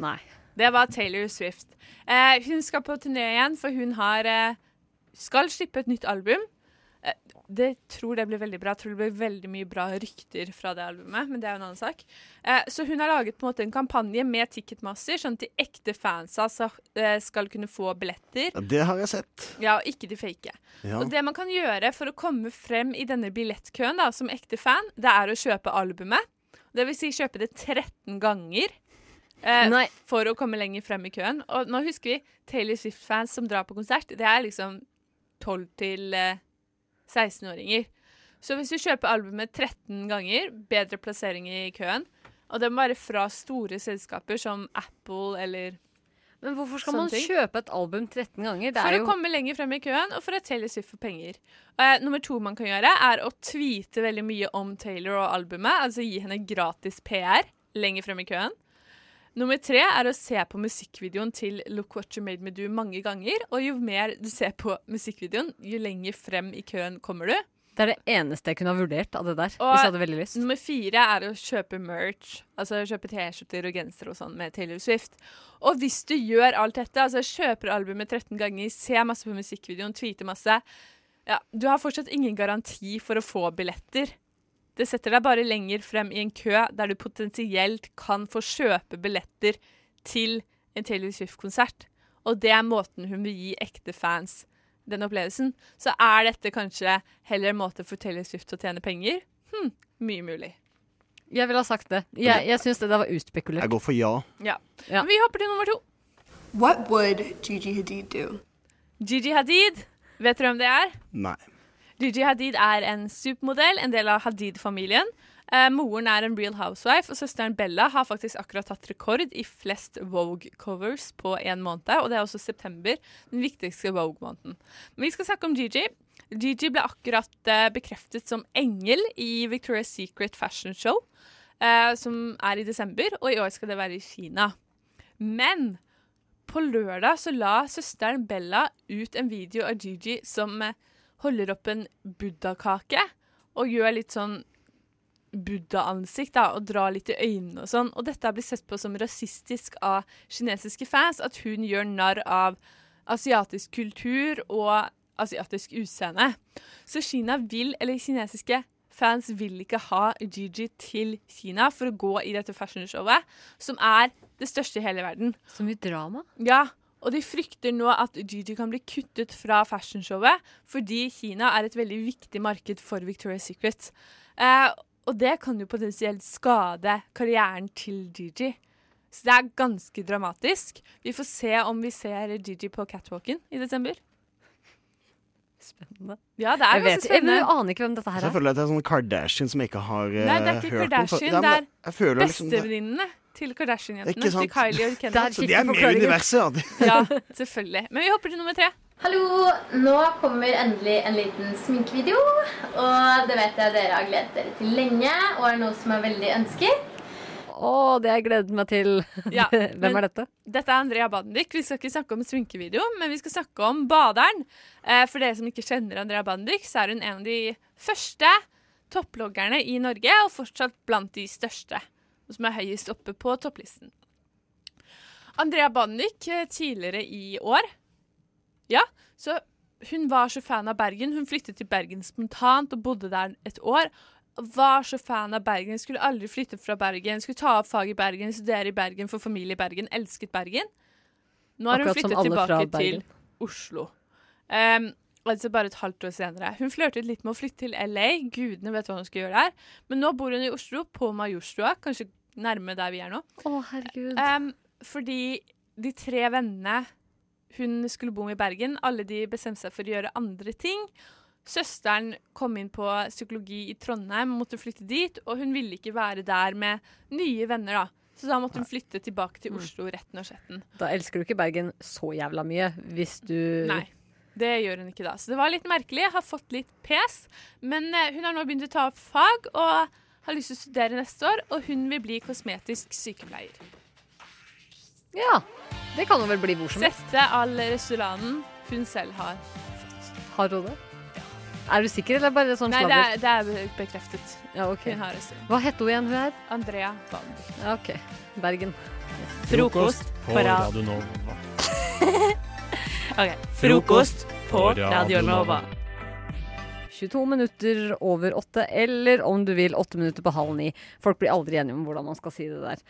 Nei.
Det var Taylor Swift. Eh, hun skal på turné igjen, for hun har eh, skal slippe et nytt album. Eh, det tror det blir veldig bra. Jeg tror det blir veldig mye bra rykter fra det albumet, men det er jo en annen sak. Eh, så hun har laget på en måte en kampanje med Ticketmaster, sånn at de ekte fansa sa- eh, skal kunne få billetter.
Ja, det har jeg sett.
Ja, og ikke de fake.
Ja.
Og det man kan gjøre for å komme frem i denne billettkøen da, som ekte fan, det er å kjøpe albumet. Det vil si kjøpe det 13 ganger eh, for å komme lenger frem i køen. Og nå husker vi Taylor Swift-fans som drar på konsert. Det er liksom 12 til eh, 16-åringer. Så hvis du kjøper albumet 13 ganger, bedre plassering i køen. Og det må være fra store selskaper som Apple eller
Men hvorfor skal man kjøpe et album 13 ganger? Det
for
er
å
jo
komme lenger frem i køen, og for at Taylor Swift får penger. Eh, nummer to man kan gjøre, er å tweete veldig mye om Taylor og albumet. Altså gi henne gratis PR lenger frem i køen. Nummer tre er å se på musikkvideoen til Look What You Made Me Do mange ganger. Og jo mer du ser på musikkvideoen, jo lenger frem i køen kommer du.
Det er det eneste jeg kunne ha vurdert av det der.
Og
hvis jeg hadde veldig lyst.
nummer fire er å kjøpe merch. Altså kjøpe T-skjorter og gensere og sånn med Taylor Swift. Og hvis du gjør alt dette, altså kjøper albumet 13 ganger, ser masse på musikkvideoen, tweeter masse ja, Du har fortsatt ingen garanti for å få billetter. Det setter deg bare lenger frem i en kø der du potensielt kan få kjøpe billetter til en Taylor Swift-konsert. Og det er måten hun vil gi ekte fans den opplevelsen. Så er dette kanskje heller en måte for Taylor Swift å tjene penger? Hm, mye mulig.
Jeg ville ha sagt det. Jeg, jeg syns det der var utspekulert.
Jeg går for ja.
Ja. Men vi hopper til nummer to. What would Gigi Hadid do? Gigi Hadid, vet dere hvem det er?
Nei.
Gigi Hadid er en supermodell, en del av Hadid-familien. Eh, moren er en real housewife, og søsteren Bella har faktisk akkurat tatt rekord i flest Vogue-covers på én måned, og det er også september, den viktigste Vogue-måneden. Men vi skal snakke om Gigi. Gigi ble akkurat eh, bekreftet som engel i Victoria's Secret Fashion Show, eh, som er i desember, og i år skal det være i Kina. Men på lørdag så la søsteren Bella ut en video av Gigi som eh, holder opp en buddha-kake og gjør litt sånn buddha-ansikt da, og drar litt i øynene og sånn. Og dette har blitt sett på som rasistisk av kinesiske fans, at hun gjør narr av asiatisk kultur og asiatisk utseende. Så Kina vil, eller kinesiske fans vil ikke ha Gigi til Kina for å gå i dette fashionshowet, som er det største i hele verden.
Så mye drama.
Ja, og de frykter nå at Gigi kan bli kuttet fra fashionshowet, fordi Kina er et veldig viktig marked for Victoria's Secret. Eh, og det kan jo potensielt skade karrieren til Gigi. Så det er ganske dramatisk. Vi får se om vi ser Gigi på catwalken i desember.
Spennende.
Ja, det er
jeg
ganske
vet, jeg, men
spennende.
jeg aner ikke hvem dette her
Så jeg
er.
føler at det er sånn Kardashian som jeg ikke har eh,
Nei, det er ikke
hørt om, for-
Kardashian.
Ja, men
det
jeg- jeg føler
er
liksom det-
bestevenninnene til Kardashian-jentene.
Ikke sant?
Til Kylie og Kendall.
Så det er med i universet, ja. Det-
Ja, selvfølgelig. Men vi hopper til nummer tre.
Hallo! Nå kommer endelig en liten sminkevideo. Og det vet jeg dere har gledet dere til lenge, og er noe som er veldig ønsket.
Å, det har jeg gledet meg til.
Ja,
hvem
men-
er dette?
Dette er Andrea Bandik. Vi skal ikke snakke om sminkevideo, men vi skal snakke om baderen. Eh, for dere som ikke kjenner Andrea Bandik, så er hun en av de første topploggerne i Norge, og fortsatt blant de største, og som er høyest oppe på topplisten. Andrea Bandik eh, tidligere i år Ja, så hun var så fan av Bergen. Hun flyttet til Bergen spontant og bodde der et år. Var så fan av Bergen, skulle aldri flytte fra Bergen. Skulle ta opp fag i Bergen, studere i Bergen, få familie i Bergen. Elsket Bergen. Nå har hun
Akkurat som
flyttet
alle fra
tilbake til
Bergen.
Oslo. Ehm, altså bare et halvt år senere. Hun flørtet litt med å flytte til LA. Gudene vet hva hun skal gjøre der. Men nå bor hun i Oslo, på Majorstua. Kanskje nærme der vi er nå.
Å, herregud.
Ehm, fordi de tre vennene hun skulle bo med i Bergen, alle de bestemte seg for å gjøre andre ting. Søsteren kom inn på psykologi i Trondheim, måtte flytte dit, og hun ville ikke være der med nye venner, da. Så da måtte hun flytte
Mm.
tilbake til Oslo, retten og sjetten.
Da elsker du ikke Bergen så jævla mye hvis du
Nei. Det gjør hun ikke da. Så det var litt merkelig. Jeg har fått litt pes. Men eh, hun har nå begynt å ta opp fag og har lyst til å studere neste år. Og hun vil bli kosmetisk sykepleier.
Ja. Det kan hun vel bli hvor som helst.
Sette all restauranten hun selv har.
Har hun det? Er du sikker, eller er det bare sånn
Nei, det
sladder?
er, det er bekreftet.
Ja, ok.
Hun har restaurant.
Hva heter hun igjen, hun her?
Andrea Band.
Ja, OK. Bergen.
Frokost på rad.
Radio Nova.
OK. Frokost på Radio Nova.
22 minutter over åtte, eller om du vil, åtte minutter på halv ni. Folk blir aldri enige om hvordan man skal si det der.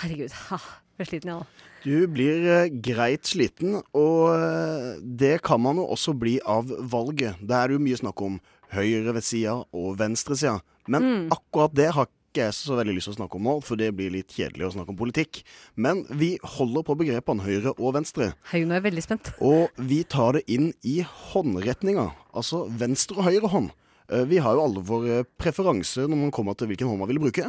Herregud. Ha, jeg er sliten, jeg ja.
Du blir eh, greit sliten, og eh, det kan man jo også bli av valget. Det er jo mye snakk om høyre ved sida og venstre sida.
Mm.
Mm.
Men akkurat det har ikke jeg så veldig lyst til å snakke om nå, for det blir litt kjedelig å snakke om politikk. Men vi holder på begrepene høyre og venstre.
Hei, nå er jeg veldig spent.
Og vi tar det inn i håndretninga, altså venstre og høyre hånd. Eh, Vi har jo alle våre preferanser når man kommer til hvilken hånd man vil bruke.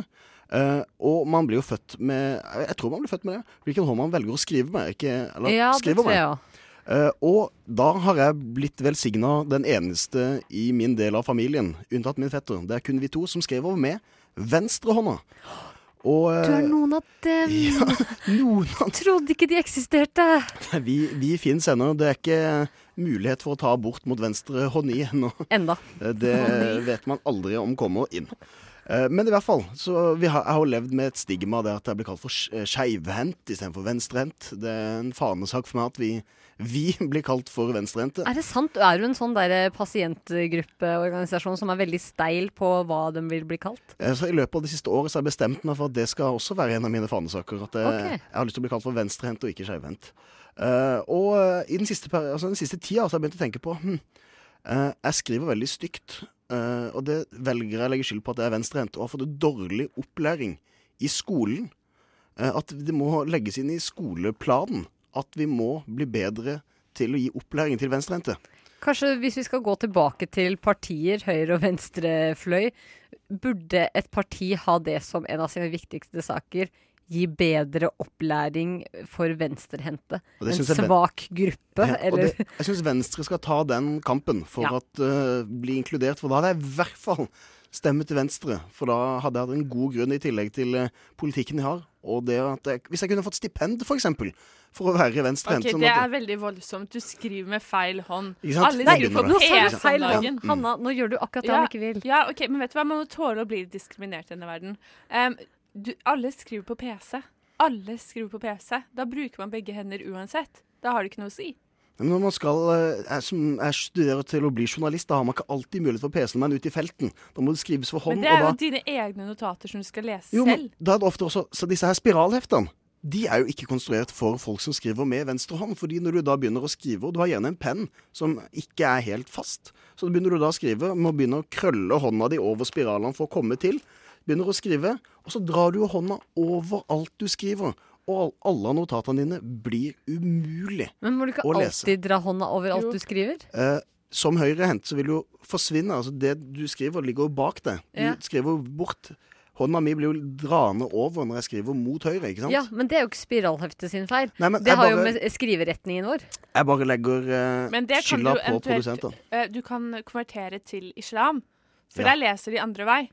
Eh, og man blir jo født med jeg- Jeg tror man blir født med det. Hvilken hånd man velger å skrive med. Ikke, eller
Ja, det
skriver
tror jeg
med. Eh, og da har jeg blitt velsigna den eneste i min del av familien, unntatt min fetter. Det er kun vi to som skrev over med venstrehånda.
Du
Og
er
eh,
noen av dem. Trodde ikke de eksisterte.
vi, vi fins ennå. Det er ikke mulighet for å ta abort mot venstre hånd i ennå. Eh,
Enda.
Det vet man aldri om kommer inn. Eh, Men i hvert fall, så vi har, jeg har jo levd med et stigma der at jeg blir kalt for sk- eh, skeivhendt istedenfor venstrehendt. Det er en fanesak for meg at vi, vi blir kalt for venstrehendte.
Er det sant? Er du en sånn der pasientgruppeorganisasjon som er veldig steil på hva de vil bli kalt?
Eh, Så I løpet av det siste året så har jeg bestemt meg for at det skal også være en av mine fanesaker. At eh, jeg,
Ok.
jeg har lyst til å bli kalt for venstrehendt og ikke skeivhendt. Eh, og eh, i den siste, per- altså, den siste tida så har jeg begynt å tenke på hm, eh, Jeg skriver veldig stygt, eh, og det velger jeg å legge skyld på at jeg er venstrehendt. Og har fått dårlig opplæring i skolen. Eh, at det må legges inn i skoleplanen at vi må bli bedre til å gi opplæring til venstrehendte.
Kanskje hvis vi skal gå tilbake til partier, høyre- og venstrefløy, burde et parti ha det som en av sine viktigste saker? Gi bedre opplæring for venstrehendte.
Og det
En
synes jeg ven-
svak gruppe,
Ja, og
eller
det, jeg syns Venstre skal ta den kampen for
Ja.
at eh, bli inkludert, for da hadde jeg i hvert fall stemme til Venstre. For da hadde jeg hatt en god grunn i tillegg til eh, politikken jeg har. Og det at jeg, hvis jeg kunne fått stipend, for eksempel, for å være venstrehendt.
Ok,
sånn
Det
at-
er veldig voldsomt. Du skriver med feil hånd.
Ikke sant?
Alle
Nei,
skriver
nå
på
sa du
PS om
feil hånd.
dagen.
Mm. Hanna,
nå gjør du akkurat det
ja,
han ikke vil.
Ja, ok, Men vet du hva, man må tåle å bli diskriminert i denne verden. Em, du, alle skriver på PC. Alle skriver på PC. Da bruker man begge hender uansett. Da har det ikke noe å si.
Men når man skal, eh, jeg, som, jeg studerer til å bli journalist, da har man ikke alltid mulighet for PC-en man ute i felten. Da må det skrives for
Men
hånd.
det er
og da,
jo dine egne notater som du skal lese
Jo, men
selv.
da er det ofte også Så disse her spiralheftene de er jo ikke konstruert for folk som skriver med venstre hånd. fordi når du da begynner å skrive, og du har gjerne en penn som ikke er helt fast, så begynner du da å skrive, må begynne å krølle hånda di over spiralene for å komme til. Begynner å skrive, og så drar du jo hånda over alt du skriver. Og all- alle notatene dine blir umulig
Men må du ikke
å lese.
alltid dra hånda over alt du skriver?
Eh, som høyrehendt så vil du jo forsvinne. Altså det du skriver, ligger jo bak deg. Du
Ja.
skriver jo bort. Hånda mi blir jo draende over når jeg skriver mot høyre. ikke sant?
Ja, men det er jo ikke spiralheftet sin feil.
Nei, men
det
jeg
har jo
bare-
med skriveretningen vår.
Jeg bare legger eh,
Men det kan du
skylda på
eventuelt
produsentene.
eh, Du kan konvertere til islam, for
Ja.
der leser de andre vei.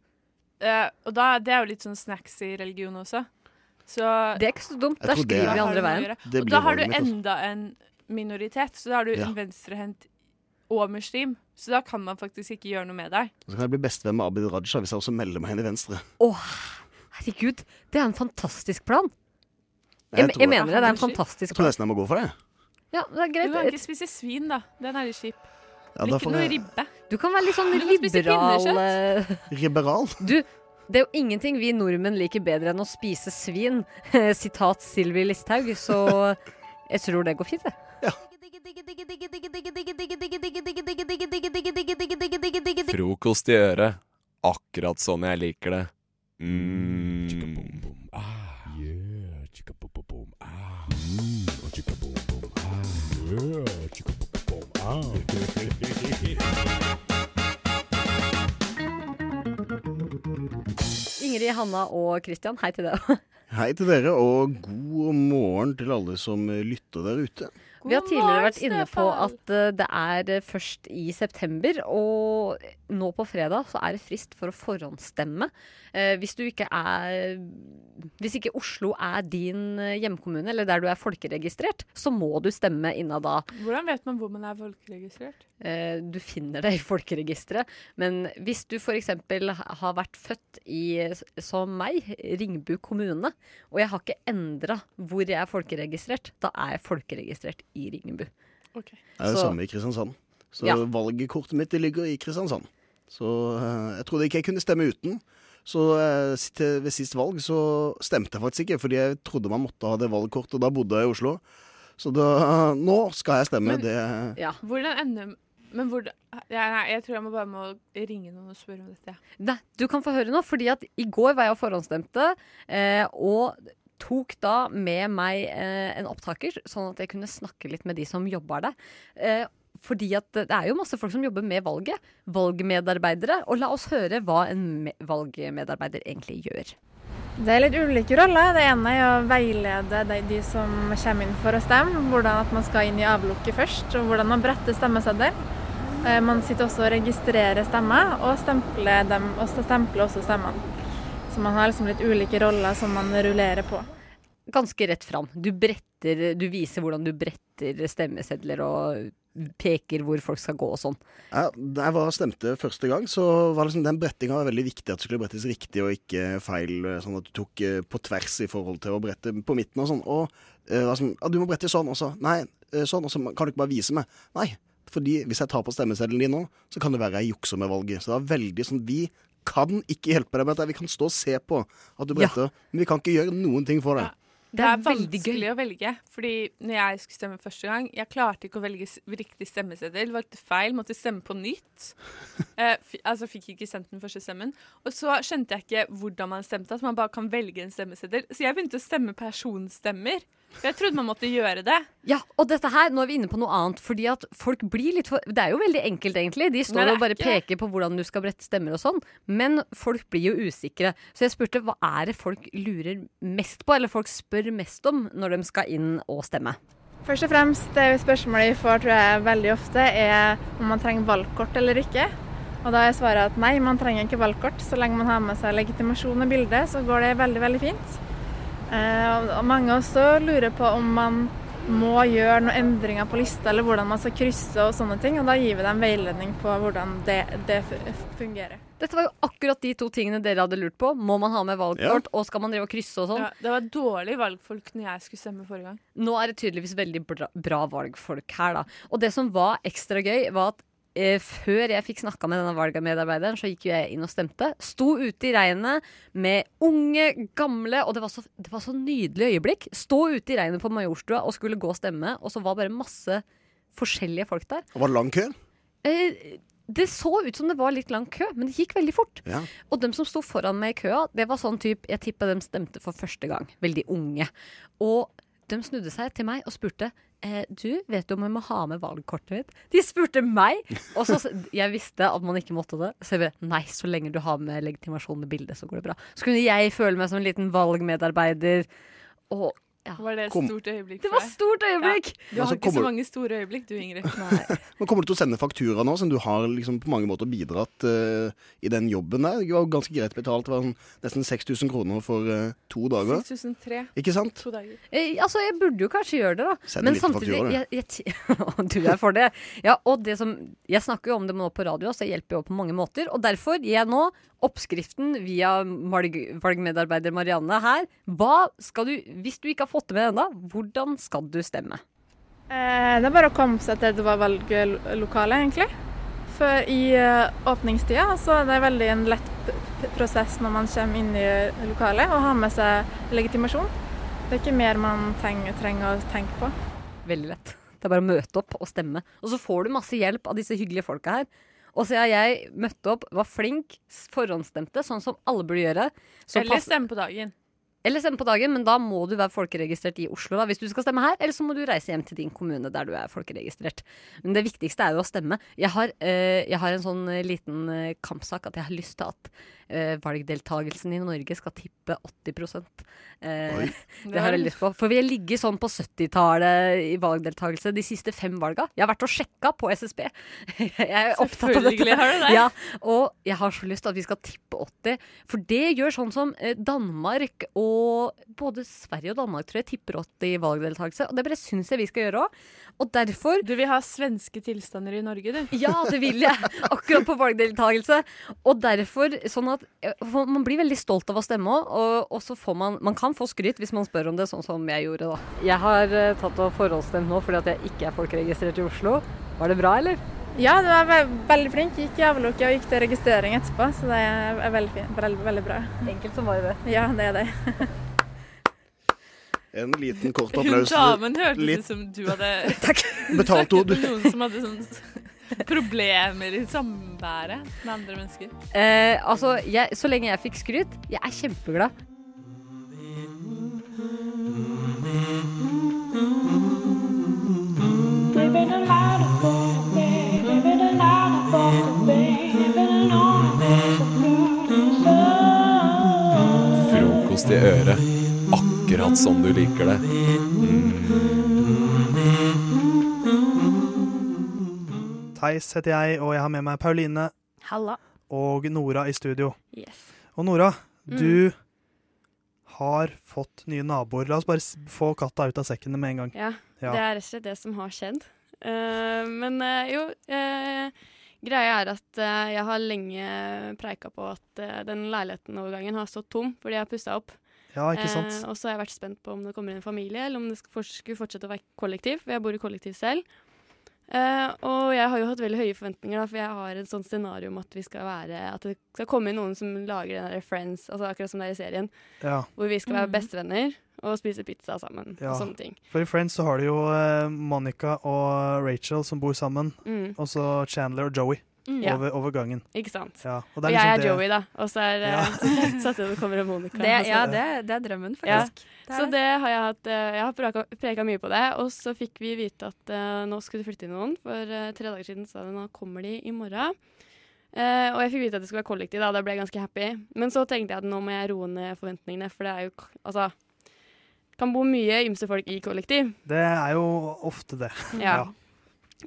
Eh, og da, det er jo litt sånn snacks i religion også. Så
Det er ikke så dumt.
Jeg Der tror det er- skriver de
Da har
andre
du noe
veien.
å gjøre.
Det
Og
blir
da har du
valget mitt også.
enda en minoritet. Så da har du
Ja.
en venstrehendt og muslim. Så da kan man faktisk ikke gjøre noe med deg.
Så kan jeg bli bestevenn med Abid Raja hvis jeg også melder meg inn i Venstre.
Herregud, det er en fantastisk plan.
Jeg
Jeg, jeg,
tror det.
mener det. Det er en
Jeg
fantastisk
tror
plan.
nesten jeg må gå for det.
Ja, det er
Du kan
greit.
ikke spise svin, da. Den er litt kjip.
Ja,
Eller
da
ikke
får
noe
jeg-
ribbe.
Du kan være litt sånn
Du kan spise
liberal
pinnekjøtt.
eh,
Liberal?
Du, det er jo ingenting vi nordmenn liker bedre enn å spise svin. Sitat Sylvi Listhaug. Så jeg tror det går fint, det.
Frokost i øret, akkurat sånn jeg liker det. Mm.
Ingrid, Hanna og Christian, hei til deg.
Hei til dere, og god morgen til alle som eh, lytter der ute.
Vi har tidligere vært inne på at eh, det er eh, først i september, og nå på fredag så er det frist for å forhåndsstemme. Eh, hvis du ikke er Hvis ikke Oslo er din eh, hjemkommune, eller der du er folkeregistrert, så må du stemme innad da.
Hvordan vet man hvor man er folkeregistrert?
Eh, Du finner det i folkeregisteret. Men hvis du f.eks. har vært født i, s- som meg, Ringbu kommune, og jeg har ikke endra hvor jeg er folkeregistrert, da er jeg folkeregistrert i Ringebu.
Det er det
Så-
samme i Kristiansand. Så
Ja.
valgkortet mitt det ligger i Kristiansand. Så eh, jeg trodde ikke jeg kunne stemme uten. Så eh, s- til- ved sist valg så stemte jeg faktisk ikke, fordi jeg trodde man måtte ha det valgkortet. Da bodde jeg i Oslo. Så da, nå skal jeg stemme.
Men-
det
Hvordan ender Men hvordan ja, Nei, jeg tror jeg må bare må ringe noen og spørre om dette. jeg.
Nei, du kan få høre nå, fordi at i går var jeg og forhåndsstemte, eh, og tok da med meg eh, en opptaker, sånn at jeg kunne snakke litt med de som jobber der. Eh, fordi at det er jo masse folk som jobber med valget, valgmedarbeidere, og la oss høre hva en me valgmedarbeider egentlig gjør.
Det er litt ulike roller. Det ene er å veilede de, de som kommer inn for å stemme, hvordan at man skal inn i avlukket først, og hvordan man bretter stemmeseddel. Eh, Man sitter også og registrerer stemmer, og stempler, dem, og så stempler også stemmene. Så man har liksom litt ulike roller som man rullerer på.
Ganske rett fram. Du bretter, du viser hvordan du bretter stemmesedler og peker hvor folk skal gå og sånn.
Ja, da jeg var og stemte første gang, så var liksom den brettinga var veldig viktig. At det skulle brettes riktig og ikke feil. Sånn at du tok eh, på tvers i forhold til å brette på midten og sånn. Og eh, var sånn Ja, du må brette sånn også. Nei, eh, sånn også. Kan du ikke bare vise meg? Nei. Fordi hvis jeg tar på stemmeseddelen din nå, så kan det være jeg jukser med valget. Så det var veldig sånn Vi kan ikke hjelpe deg med dette. Vi kan stå og se på at du bretter, men vi kan ikke gjøre noen ting for deg.
Det er vanskelig å velge. Fordi når jeg skulle stemme første gang, jeg klarte ikke å velge s- riktig stemmeseddel. Valgte feil, måtte stemme på nytt. Eh, f altså fikk ikke sendt den første stemmen. Og så skjønte jeg ikke hvordan man stemte, at man bare kan velge en stemmeseddel. Så jeg begynte å stemme personstemmer. For jeg trodde man måtte gjøre det.
Ja, og dette her, nå er vi inne på noe annet, fordi at folk blir litt for Det er jo veldig enkelt, egentlig. De
Nei,
står
det er
og bare
ikke
peker på hvordan du skal brette stemmer og sånn, men folk blir jo usikre. Så jeg spurte hva er det folk lurer mest på, eller folk spør mest om når de skal inn og stemme.
Først og fremst, det spørsmålet vi får tror jeg veldig ofte, er om man trenger valgkort eller ikke. Og da er svaret at nei, man trenger ikke valgkort. Så lenge man har med seg legitimasjon og bilde, så går det veldig, veldig fint. Eh, og- og mange også lurer på om man må gjøre noen endringer på lista, eller hvordan man skal krysse og sånne ting. Og da gir vi dem veiledning på hvordan det, det fu- fungerer.
Dette var jo akkurat de to tingene dere hadde lurt på. Må man ha med valgkort, og skal man drive og krysse og sånn?
Ja, det var dårlig valgfolk når jeg skulle stemme forrige gang.
Nå er det tydeligvis veldig bra, bra valgfolk her, da. Og det som var ekstra gøy, var at eh, før jeg fikk snakka med denne valgmedarbeideren, så gikk jo jeg inn og stemte. Sto ute i regnet med unge, gamle, og det var så, det var så nydelig øyeblikk. Stå ute i regnet på Majorstua og skulle gå og stemme, og så var bare masse forskjellige folk der.
Det var lang kø.
Eh, det så ut som det var litt lang kø, men det gikk veldig fort.
Ja.
Og dem som sto foran meg i køa, det var sånn type Jeg tippa dem stemte for første gang. Veldig unge. Og de snudde seg til meg og spurte eh, Du, vet du om jeg må ha med valgkortet mitt? De spurte meg! Og så Jeg visste at man ikke måtte det. Så jeg bare Nei, så lenge du har med legitimasjon med bilde, så går det bra. Så kunne jeg føle meg som en liten valgmedarbeider. Og ja.
Var det et
Kom.
stort øyeblikk
Det var stort øyeblikk!
Du
Altså,
har ikke
kommer-
så mange store øyeblikk, du, Ingrid.
Men kommer du til å sende faktura nå, som du har liksom på mange måter bidratt eh, i den jobben der? Det var jo ganske greit betalt. Det var sånn, nesten 6000 kroner for eh, to dager.
6003.
Ikke sant?
To dager.
Eh, altså, jeg burde jo kanskje gjøre det, da.
Send en
Men
liten
samtidig
faktura,
jeg, jeg, ti- Du er for det. Ja, og det som, jeg snakker jo om det nå på radio, så jeg hjelper jo på mange måter. Og derfor gir jeg nå oppskriften via valg- valgmedarbeider Marianne her. Hva skal du, hvis du ikke har fått det med ennå, hvordan skal du stemme?
Eh, Det er bare å komme seg til det var valglokale, egentlig. For i eh, åpningstida så er det veldig en lett p- p- prosess når man kommer inn i eh, lokalet, og har med seg legitimasjon. Det er ikke mer man trenger, trenger å tenke på.
Veldig lett. Det er bare å møte opp og stemme. Og så får du masse hjelp av disse hyggelige folka her. Og så har jeg møtt opp, var flink, forhåndsstemte, sånn som alle burde gjøre. så
Eller
pass-
stemme på dagen.
Eller stemme på dagen, men da må du være folkeregistrert i Oslo da, hvis du skal stemme her. Eller så må du reise hjem til din kommune der du er folkeregistrert. Men det viktigste er jo å stemme. Jeg har, eh, jeg har en sånn eh, liten eh, kampsak at jeg har lyst til at eh, valgdeltagelsen i Norge skal tippe 80 eh,
Oi.
Det har jeg lyst på. For vi har ligget sånn på 70-tallet i valgdeltakelse de siste fem valga. Jeg har vært og sjekka på SSB. Jeg er opptatt av dette.
Selvfølgelig har du det.
Ja, og jeg har så lyst til at vi skal tippe 80, for det gjør sånn som eh, Danmark og både Sverige og Danmark tror jeg tipper 80 i valgdeltakelse. Og det bare syns jeg vi skal gjøre òg. Og derfor
Du vil ha svenske tilstander i Norge, du?
Ja, det vil jeg. Akkurat på valgdeltakelse. Og derfor sånn at eh, for Man blir veldig stolt av å stemme òg, og, og så får man Man kan få skryt hvis man spør om det, sånn som jeg gjorde, da. Jeg har eh, tatt og forhåndsstemt nå fordi at jeg ikke er folkeregistrert i Oslo. Var det bra, eller?
Ja, du er ve veldig flink. Gikk i avlukket og gikk til registrering etterpå, så det er veldig, fin, veldig, veldig bra.
Enkelt som bare det.
Ja, det er det.
En liten kort
Hun
applaus.
damen hørtes
Litt
ut som du hadde
Betalt ord.
snakket med noen som hadde sånn problemer i samværet med andre mennesker.
Eh, altså, jeg, så lenge jeg fikk skryt, jeg er kjempeglad.
Frokost i øret, akkurat som du liker det. Mm.
Theis heter jeg, og jeg har med meg Pauline
Halla.
og Nora i studio.
Yes.
Og Nora,
Mm.
du har fått nye naboer. La oss bare s- få katta ut av sekken med en gang.
Ja,
Ja.
det er rett og slett det som har skjedd. Eh, men eh, jo, eh, greia er at eh, jeg har lenge preika på at eh, den leilighetenovergangen har stått tom fordi jeg har pussa opp.
Ja, ikke sant?
Eh, og så har jeg vært spent på om det kommer inn en familie, eller om det skal forts- skulle fortsette å være kollektiv, for jeg bor i kollektiv selv. Eh, og jeg har jo hatt veldig høye forventninger, da, for jeg har et sånt scenario om at, vi skal være, at det skal komme inn noen som lager den der Friends, altså akkurat som det er i serien,
Ja.
hvor vi skal være
Mhm.
bestevenner og spise pizza sammen
Ja.
og sånne ting.
For i Friends så har du jo eh, Monica og Rachel som bor sammen,
Mm.
og så Chandler og Joey
Mm. Ja.
over, over gangen.
Ikke sant.
Ja,
Og,
det
jeg
liksom
er
det-
Joey, da. Og så er
Ja. Altså,
ja. satt det kommer en Monica.
Det,
og så-
ja, det, det er drømmen,
Ja.
faktisk. Det er
Så
det.
det har jeg hatt eh, Jeg har preka- preka mye på det. Og så fikk vi vite at eh, nå skulle det flytte inn noen. For eh, tre dager siden sa de nå kommer de i morgen. Eh, og jeg fikk vite at det skulle være kollektiv, da. Da ble jeg ganske happy. Men så tenkte jeg at nå må jeg roe ned forventningene, for det er jo k- Altså Kan bo mye ymse folk i kollektiv.
Det er jo ofte det.
Ja.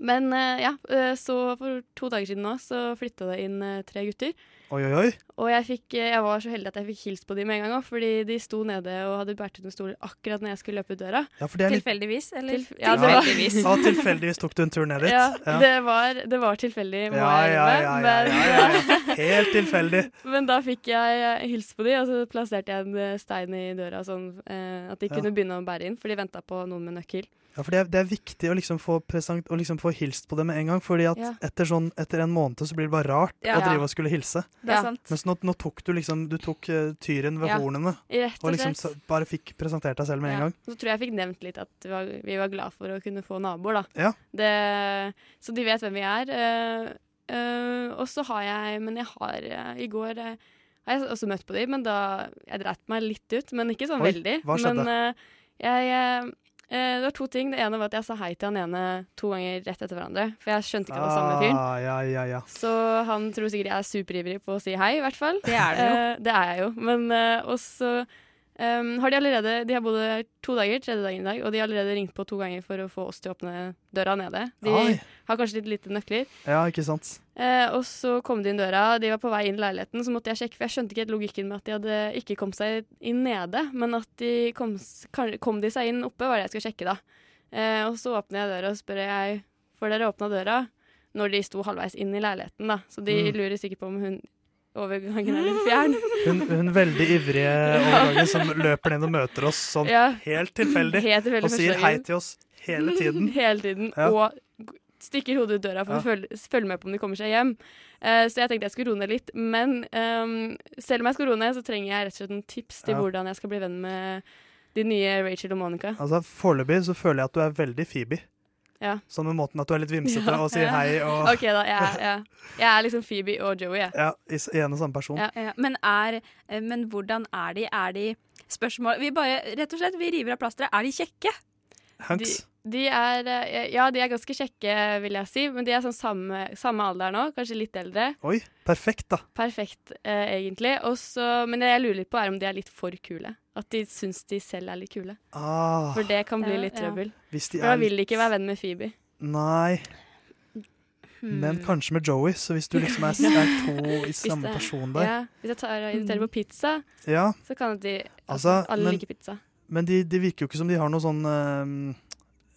Men eh, ja, eh, så for to dager siden nå så flytta det inn eh, tre gutter.
Oi, oi, oi.
Og jeg, fikk, eh, jeg var så heldig at jeg fikk hilst på dem med en gang òg, fordi de sto nede og hadde båret ut noen stoler akkurat når jeg skulle løpe ut døra.
Ja, for det er litt-
Tilfeldigvis, eller?
ja, det var,
Ja, tilfeldigvis tok du en tur ned dit.
ja,
Ja.
det var, det var tilfeldig, må
Ja,
jeg
ja, ja,
innrømme.
ja, ja,
men-
ja. Helt tilfeldig.
Men da fikk jeg eh, hilst på dem, og så plasserte jeg en eh, stein i døra sånn eh, at de
Ja.
kunne begynne å bære inn, for de venta på noen med nøkkel.
Ja, for det er, det er viktig å liksom få, present, å liksom få hilst på det med en gang, fordi at
Ja.
etter, sånn, etter en måned så blir det bare rart
Ja.
å drive og skulle hilse.
Det er Ja. sant.
Mens nå, nå tok du liksom du tok eh, tyren ved
Ja.
hornene,
Rett og
og liksom
slett.
så, bare fikk presentert deg selv med en gang.
Så tror jeg jeg fikk nevnt litt at vi var, vi var glad for å kunne få naboer, da.
Ja.
Det, så de vet hvem vi er. eh, eh, og så har jeg Men jeg har eh, I går eh, har jeg også møtt på dem, men da Jeg dreit meg litt ut, men ikke sånn
Oi,
veldig.
hva skjedde?
Men eh, jeg eh, eh, Det var to ting. Det ene var at jeg sa hei til han ene to ganger rett etter hverandre. For jeg skjønte ikke at det var samme fyren.
Ah, ja, ja, ja.
Så han tror sikkert jeg er superivrig på å si hei, i hvert fall.
Det er det jo.
Eh, det er jeg jo. Men eh, og så ehm, har de allerede De har bodd her to dager, tredje dagen i dag, og de har allerede ringt på to ganger for å få oss til å åpne døra nede. De
Oi.
har kanskje litt lite nøkler.
Ja, ikke sant?
Eh, og så kom de inn døra, de var på vei inn i leiligheten, så måtte jeg sjekke, for jeg skjønte ikke helt logikken med at de hadde ikke kom seg inn nede, men at de kom, s- kan- kom de seg inn oppe, var det jeg skulle sjekke da. Eh, og så åpner jeg døra og spør jeg, får dere åpna døra? Når de sto halvveis inn i leiligheten da, så de
Mm.
lurer sikkert på om hun overgangen er litt fjern.
Hun, hun veldig ivrige overgangen som løper ned og møter oss sånn
Ja.
helt tilfeldig,
Helt tilfeldig
og sier
første
hei
gangen.
til oss hele tiden.
Hele tiden.
Ja.
Og g- stikker hodet ut døra for å
Ja.
følge, følge med på om de kommer seg hjem. Eh, så jeg tenkte jeg skulle roe ned litt. Men ehm, selv om jeg skal roe ned, så trenger jeg rett og slett noen tips til
Ja.
hvordan jeg skal bli venn med de nye Rachel og Monica.
Altså, Foreløpig så føler jeg at du er veldig Phoebe.
Ja.
Samme måten at du er litt vimsete
Ja.
og sier hei og
OK, da. Jeg, er- jeg, jeg er liksom Phoebe og Joey, jeg.
ja, i, s- i en og samme person.
Ja.
Ja, men, er, eh, men hvordan er de? Er de spørsmål Vi bare, rett og slett, vi river av plasteret. Er de kjekke?
Hunks.
De er, eh, ja, de er ganske kjekke, vil jeg si, men de er sånn samme, samme alder nå, kanskje litt eldre.
Oi, perfekt, da.
Perfekt, eh, egentlig. Og så- men det jeg lurer litt på, er om de er litt for kule. At de syns de selv er litt kule.
Ah.
For det kan bli
Ja,
litt
ja.
trøbbel.
Hvis de
For da
er
vil de ikke være venn med Phoebe.
Nei. Men kanskje med Joey, så hvis du liksom er, s- er to i
Mm. Hvis
samme
det-
person der.
Ja, hvis jeg tar og inviterer på pizza,
Ja.
så kan at de
Altså,
Alle
men-
liker pizza.
Men de, de virker jo ikke som de har noe sånn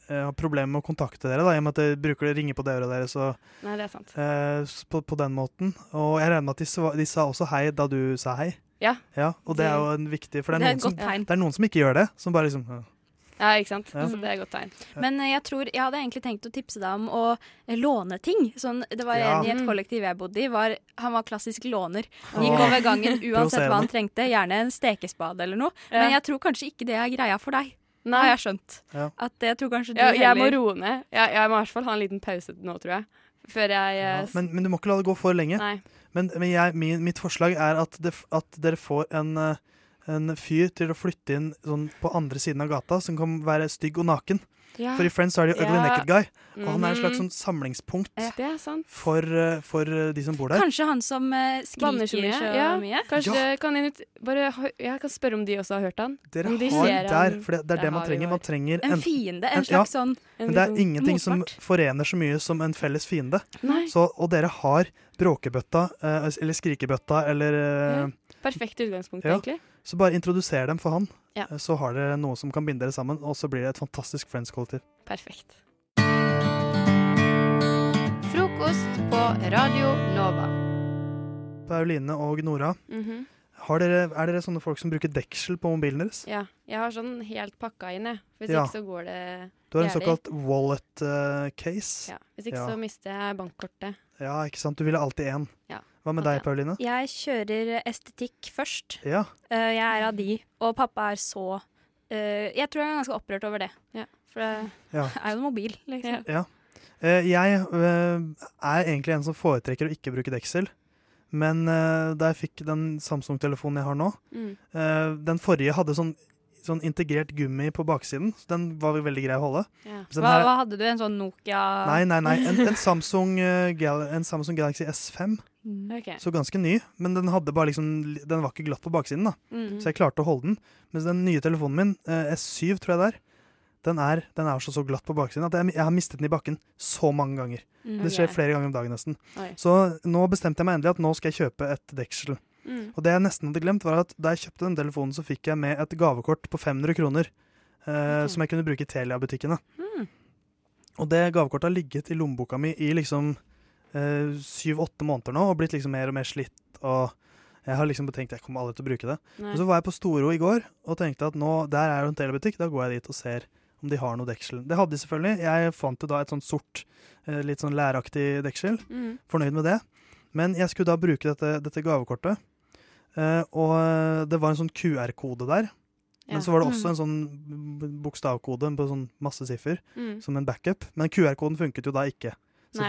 eh, eh, har problemer med å kontakte dere, da, i og med at de bruker ringer på døra deres og
Nei, det er sant.
eh, s- på, på den måten. Og jeg regner med at de, sva, de sa også hei da du sa hei.
Ja.
Og det er jo en viktig For det er,
Det er et
noen, som,
godt tegn.
det er noen som ikke gjør det. Som bare liksom øh.
Ja, ikke sant?
Ja.
Så det er et godt tegn.
Men eh, jeg tror, jeg hadde egentlig tenkt å tipse deg om å eh, låne ting. Sånn, det var
Ja.
en i et
Mm.
kollektiv jeg bodde i. Var, han var klassisk låner.
Åh.
Gikk over gangen uansett hva han
Provoserende.
trengte. Gjerne en stekespade eller noe.
Ja.
Men jeg tror kanskje ikke det er greia for deg. Nei. Har jeg skjønt.
Ja.
At jeg tror kanskje du
Ja, jeg må
heller
roe ned. Jeg, jeg må i hvert fall ha en liten pause nå, tror jeg. Før jeg eh, s-
men, men du må ikke la det gå for lenge.
Nei.
Men, men jeg, min, mitt forslag er at, det, f- at dere får en, eh, en fyr til å flytte inn sånn, på andre siden av gata, som kan være stygg og naken.
Ja.
For i Friends er det jo Ugly
Ja.
Naked Guy, og han er et
Mhm.
slags sånn samlingspunkt
Det er sant.
for, eh, for eh, de som bor der.
Kanskje han som eh, skriker
Banner så mye. Ja, kanskje
Ja.
det kan invit- bare, ha- Jeg kan spørre om de også har hørt han.
Dere
om de
har
ser
der,
han.
for det, det er
Der
det man
har vi
trenger.
vår.
Man trenger
En fiende, en slags sånn-
Men
en
det er
sånn
ingenting som forener så mye som en felles fiende.
Nei.
Så, og dere har bråkebøtta, eh, eller skrikebøtta, eller eh,
Perfekt utgangspunkt,
ja.
egentlig.
Så bare introduser dem for han,
Ja.
eh, så har dere noe som kan binde dere sammen, og så blir det et fantastisk Friends-kollektiv.
Perfekt.
Frokost på Radio Nova.
Pauline og Nora,
Mhm.
har dere, er dere sånne folk som bruker deksel på mobilen deres?
Ja. Jeg har sånn helt pakka inn, jeg. Hvis
Ja.
ikke så går det
Du har en
gærlig.
såkalt wallet eh, case.
ja. Hvis ikke
ja.
så mister jeg bankkortet.
Ja, ikke sant? Du ville alltid én.
Ja.
Hva med deg, Pauline?
Jeg kjører eh, estetikk først.
Ja.
Eh, jeg er av de. Og pappa er så eh, Jeg tror han er ganske opprørt over det. For det
Ja.
er jo en mobil, liksom.
Ja. Eh, jeg eh, er egentlig en som foretrekker å ikke bruke deksel. Men eh, da jeg fikk den Samsung-telefonen jeg har nå
Mm.
eh, Den forrige hadde sånn, sånn integrert gummi på baksiden, så den var veldig grei å holde.
Ja.
Mens den
Hva,
her-
hva hadde du? En sånn Nokia
Nei, nei, nei. En, en, Samsung, eh, Gal en Samsung Galaxy S5.
Ok.
Så ganske ny, men den, hadde bare liksom, den var ikke glatt på baksiden. da
Mhm.
Så jeg klarte å holde den. Mens den nye telefonen min, eh, S7 tror jeg det er, den er, den er så, så glatt på baksiden at jeg, jeg har mistet den i bakken så mange ganger.
Mm.
Det skjer
Ok.
flere ganger om dagen nesten.
Oi.
Så nå bestemte jeg meg endelig at nå skal jeg kjøpe et deksel.
Mm.
Og det jeg nesten hadde glemt, var at da jeg kjøpte den telefonen, så fikk jeg med et gavekort på 500 kroner. eh, Som jeg kunne bruke i Telia-butikkene.
Mm.
Og det gavekortet har ligget i lommeboka mi i liksom syv-åtte måneder nå og blitt liksom mer og mer slitt. Og jeg har liksom tenkt jeg kommer aldri til å bruke det.
Nei.
Men så var jeg på Storo i går og tenkte at nå, der er jo en telebutikk, da går jeg dit og ser om de har noe deksel. Det hadde de selvfølgelig. Jeg fant jo da et sånt sort, eh, litt sånn læraktig deksel.
Mm.
Fornøyd med det. Men jeg skulle da bruke dette, dette gavekortet. Eh, og det var en sånn QR-kode der.
Ja.
Men så var det også
Mm.
en sånn b- bokstavkode på sånn masse siffer
Mm.
som en backup. Men QR-koden funket jo da
Nei,
ikke,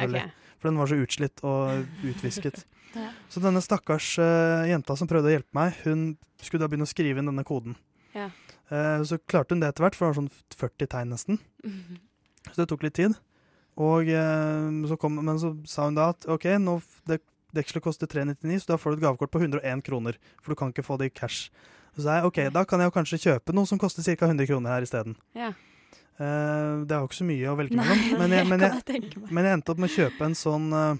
selvfølgelig.
ok.
For den var så utslitt og utvisket.
Ja.
Så denne stakkars eh, jenta som prøvde å hjelpe meg, hun skulle da begynne å skrive inn denne koden.
Ja.
Eh, så klarte hun det etter hvert, for det var sånn 40 tegn nesten.
Mhm.
Så det tok litt tid. Og eh, så kom, men så sa hun da at OK, nå f- det, dekselet koster 399, så da får du et gavekort på 101 kroner. For du kan ikke få det i cash. Så sa jeg OK, da kan jeg jo kanskje kjøpe noe som koster ca. 100 kroner her isteden.
Ja.
Eh, det er jo ikke så mye å velge
Nei,
mellom, men jeg,
det kan
men,
jeg
jeg,
tenke meg.
men jeg endte opp med å kjøpe en sånn eh,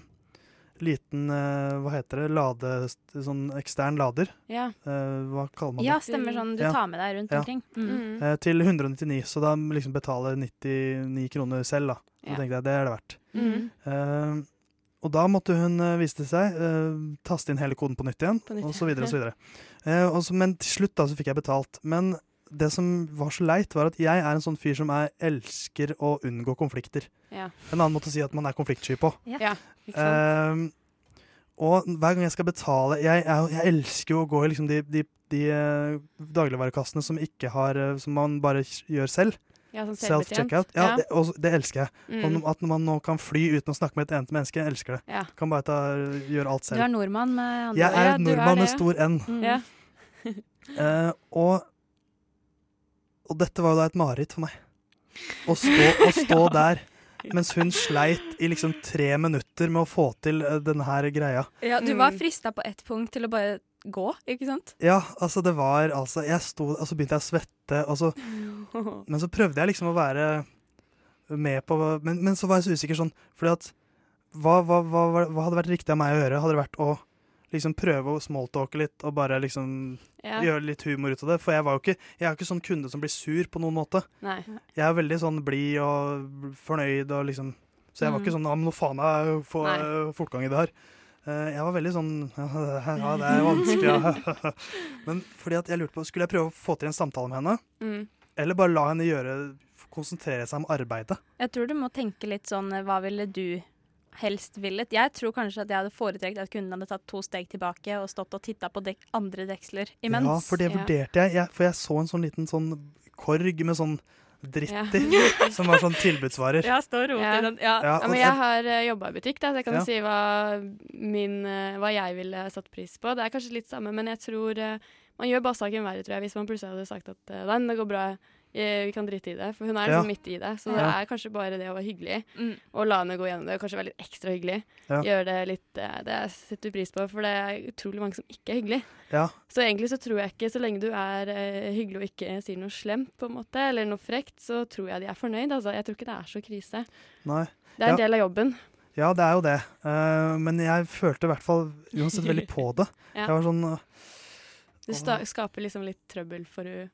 liten eh, Hva heter det? Lade, sånn ekstern lader.
Ja.
Eh, hva kaller man det?
Ja, stemmer sånn du
Ja.
tar med deg rundt
Ja.
omkring. Mm.
Eh, til 199, så da liksom betaler 99 kroner selv, da. Så
Ja.
tenkte jeg det er det verdt.
Mm.
Mhm.
Eh, og da måtte hun, eh, viste det seg, eh, taste inn hele koden på nytt igjen,
nytt,
og
ja.
så videre og så videre. Eh, og så, men til slutt da, så fikk jeg betalt. Men det som var så leit, var at jeg er en sånn fyr som er, elsker å unngå konflikter.
Ja.
En annen måte å si at man er konfliktsky på.
Ja, ikke
Eh,
sant?
Ehm, og hver gang jeg skal betale Jeg, er jo- jeg elsker jo å gå i liksom de, de, de eh, dagligvarekassene som, ikke har, eh, som man bare kj- gjør selv.
Ja, sånn selvbetjent.
Self-checkout. Ja,
Ja.
Det, og det elsker jeg.
Mm.
Og at man nå kan fly uten å snakke med et eneste menneske, jeg elsker det.
Ja.
Kan bare ta, gjøre alt
Du
selv.
er nordmann med andre
Jeg
ord.
er
Ja, du
nordmann med
det, ja.
stor N.
Mm. Ja.
Eh, og, og dette var jo da et mareritt for meg. Å stå, å stå der mens hun sleit i liksom tre minutter med å få til eh, denne her greia.
Ja, du
Mm.
var frista på ett punkt til å bare gå, ikke sant?
Ja, altså det var altså Jeg sto og så begynte jeg å svette, altså, og så Men så prøvde jeg liksom å være med på Men, men så var jeg så usikker sånn, fordi at hva, hva, hva, hva hadde vært riktig av meg å gjøre? Hadde det vært å liksom prøve å smalltalke litt og bare liksom
Ja.
gjøre litt humor ut av det? For jeg var jo ikke Jeg er jo ikke sånn kunde som blir sur på noen måte.
Nei.
Jeg er veldig sånn blid og fornøyd og liksom Så jeg var
Mm.
ikke sånn 'ja, men nå faen meg få
Nei.
eh, fortgang i det her'. Eh, Jeg var veldig sånn Ja, det er vanskelig. Ja. Men fordi at jeg lurte på Skulle jeg prøve å få til en samtale med henne?
Mm.
Eller bare la henne gjøre konsentrere seg om arbeidet?
Jeg tror du må tenke litt sånn eh, hva ville du helst villet? Jeg tror kanskje at jeg hadde foretrekt at kunden hadde tatt to steg tilbake og stått og titta på dek andre deksler imens.
Ja, for det vurderte jeg. jeg. For jeg så en sånn liten sånn korg med sånn dritt
Ja.
i, som var sånn tilbudsvarer.
Ja, stå og rote i den. Ja.
Ja,
Ja,
og
men
jeg-
jeg har uh, jobba i butikk, da, så jeg kan
Ja.
jo si hva, min, eh, hva jeg ville satt pris på. Det er kanskje litt samme, men jeg tror eh, man gjør bare saken verre, tror jeg, hvis man plutselig hadde sagt at uh, nei, men det går bra, eh, vi kan drite i det. For hun er
Ja.
liksom midt i det, så det
Ja.
er kanskje bare det å være hyggelig
Mm.
og la henne gå gjennom det, og kanskje være litt ekstra hyggelig.
Ja.
Gjør det litt eh, Det setter vi pris på, for det er utrolig mange som ikke er hyggelig.
Ja.
Så egentlig så tror jeg ikke, så lenge du er eh, hyggelig og ikke sier noe slemt, på en måte, eller noe frekt, så tror jeg de er fornøyd. Altså. Jeg tror ikke det er så krise.
Nei.
Det er en
Ja.
del av jobben.
Ja, det er jo det. Eh, men jeg følte i hvert fall uansett veldig på det.
Ja.
Jeg var sånn eh,
Du sta skaper liksom litt trøbbel for henne.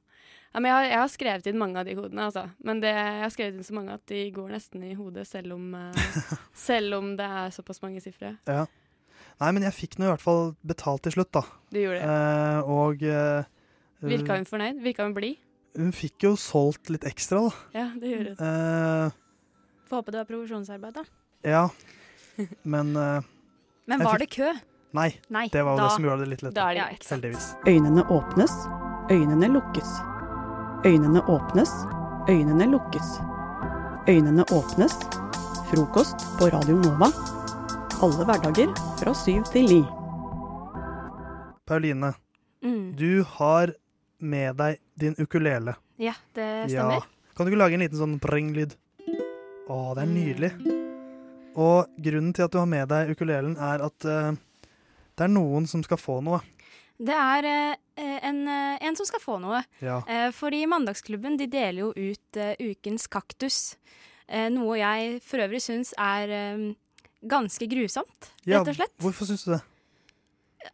Ja, men jeg, har, jeg har skrevet inn mange av de kodene, altså. Men det, jeg har skrevet inn så mange at de går nesten i hodet, selv om, eh, selv om det er såpass mange sifre.
Ja. Nei, men jeg fikk nå i hvert fall betalt til slutt, da.
Du gjorde det.
Eh, og eh,
Virka hun fornøyd? Virka hun blid?
Hun fikk jo solgt litt ekstra, da.
Ja, det gjorde hun.
Eh,
Får håpe det var provisjonsarbeid, da.
ja. Men eh,
Men
jeg
var
fikk-
det kø?
Nei.
Nei,
Det var jo
da-
det som gjorde det litt lettere.
da er det greit.
Heldigvis.
Øynene åpnes, øynene lukkes. Øynene åpnes, øynene lukkes. Øynene åpnes. Frokost på Radio Nova. Alle hverdager fra syv til ni.
Pauline,
Mm.
du har med deg din ukulele.
Ja, det
Ja. Kan du ikke lage en liten sånn pring-lyd? Å, det er nydelig. Og grunnen til at du har med deg ukulelen, er at eh, det er noen som skal få noe.
Det er eh, en, eh, en som skal få noe.
Ja.
Eh, fordi Mandagsklubben de deler jo ut eh, ukens kaktus. Eh, noe jeg for øvrig syns er eh, ganske grusomt,
Ja,
rett og slett.
Hvorfor syns du det?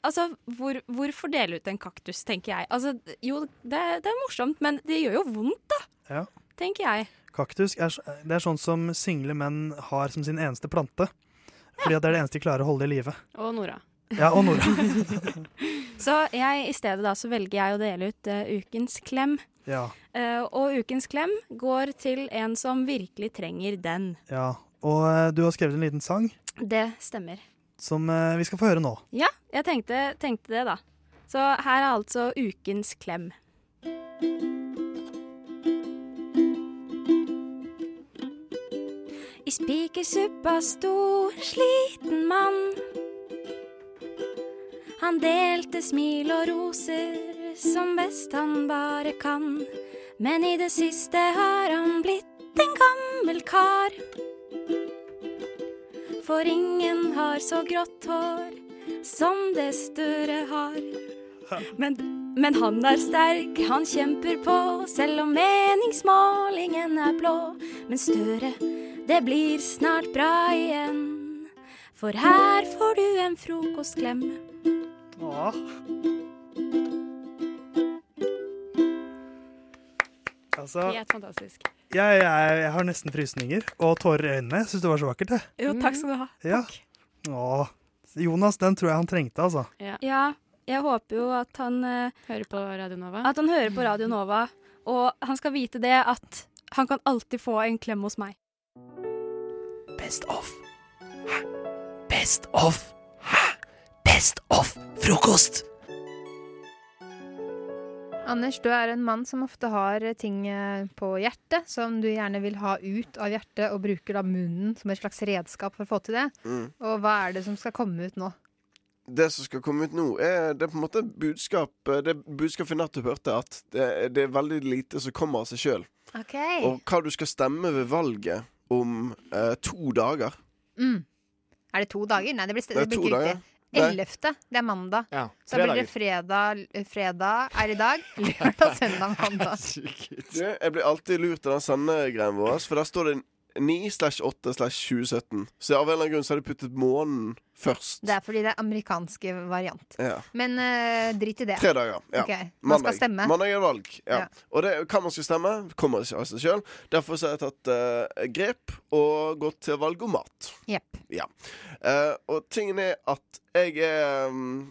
Altså, hvor, Hvorfor dele ut en kaktus, tenker jeg. Altså, Jo, det, det er morsomt, men det gjør jo vondt, da,
Ja.
tenker jeg.
Kaktus er, s- det er sånn som single menn har som sin eneste plante. Fordi at det er det eneste de klarer å holde i live.
Og Nora.
Ja, og Nora.
Så jeg, i stedet da, så velger jeg å dele ut eh, ukens klem.
Ja.
Eh, og ukens klem går til en som virkelig trenger den.
ja. Og eh, du har skrevet en liten sang
Det stemmer.
som eh, vi skal få høre nå.
Ja, jeg tenkte, tenkte det, da. Så her er altså ukens klem.
I spikersuppa sto en sliten mann. Han delte smil og roser som best han bare kan. Men i det siste har han blitt en gammel kar. For ingen har så grått hår som det Støre har. Men, men han er sterk, han kjemper på, selv om meningsmålingen er blå. Men Støre, det blir snart bra igjen. For her får du en frokostklem.
Altså,
Helt fantastisk.
jeg, jeg, jeg har nesten frysninger og tårer i øynene. Syns det var så vakkert, det.
Jo, takk skal du ha.
Ja. Åh. Jonas, den tror jeg han trengte, altså.
Ja. jeg håper jo at han
eh,
Hører på Radio Nova.
At han hører på Radio Nova, og han skal vite det at han kan alltid få en klem hos meg.
Best of. Hæ? Best of. Hæ? Best of frokost!
Anders, du er en mann som ofte har ting eh, på hjertet som du gjerne vil ha ut av hjertet, og bruker da munnen som et slags redskap for å få til det.
Mm.
Og hva er det som skal komme ut nå?
det som skal komme ut nå, er, det er på en måte budskap eh, Det budskapet vi nettopp hørte, at det, det er veldig lite som kommer av seg sjøl.
Ok.
Og hva du skal stemme ved valget om eh, to dager.
Mm. Er det to dager? Nei, det blir,
Det er
det blir
to
ikke
dager.
riktig.
Nei.
Ellevte, det er mandag.
Ja,
Så
tre
da blir det fredag, fredag er i dag, lørdag, søndag, mandag.
Du, jeg blir alltid lurt av den sendegreien vår, for der står det 9 slash 8 slash 2017. Så av en eller annen grunn så har de puttet måneden først.
Det er fordi det er amerikanske variant.
Ja.
Men eh, drit i det.
Tre dager. Ja.
Ok, Man skal stemme.
Mandag er valg. Ja.
Ja.
Og det, hva man skal stemme, kommer ikke av seg sjøl. Derfor så har jeg tatt eh, grep og gått til valgomat.
Jepp.
Ja. Eh, og tingen er at jeg er mm,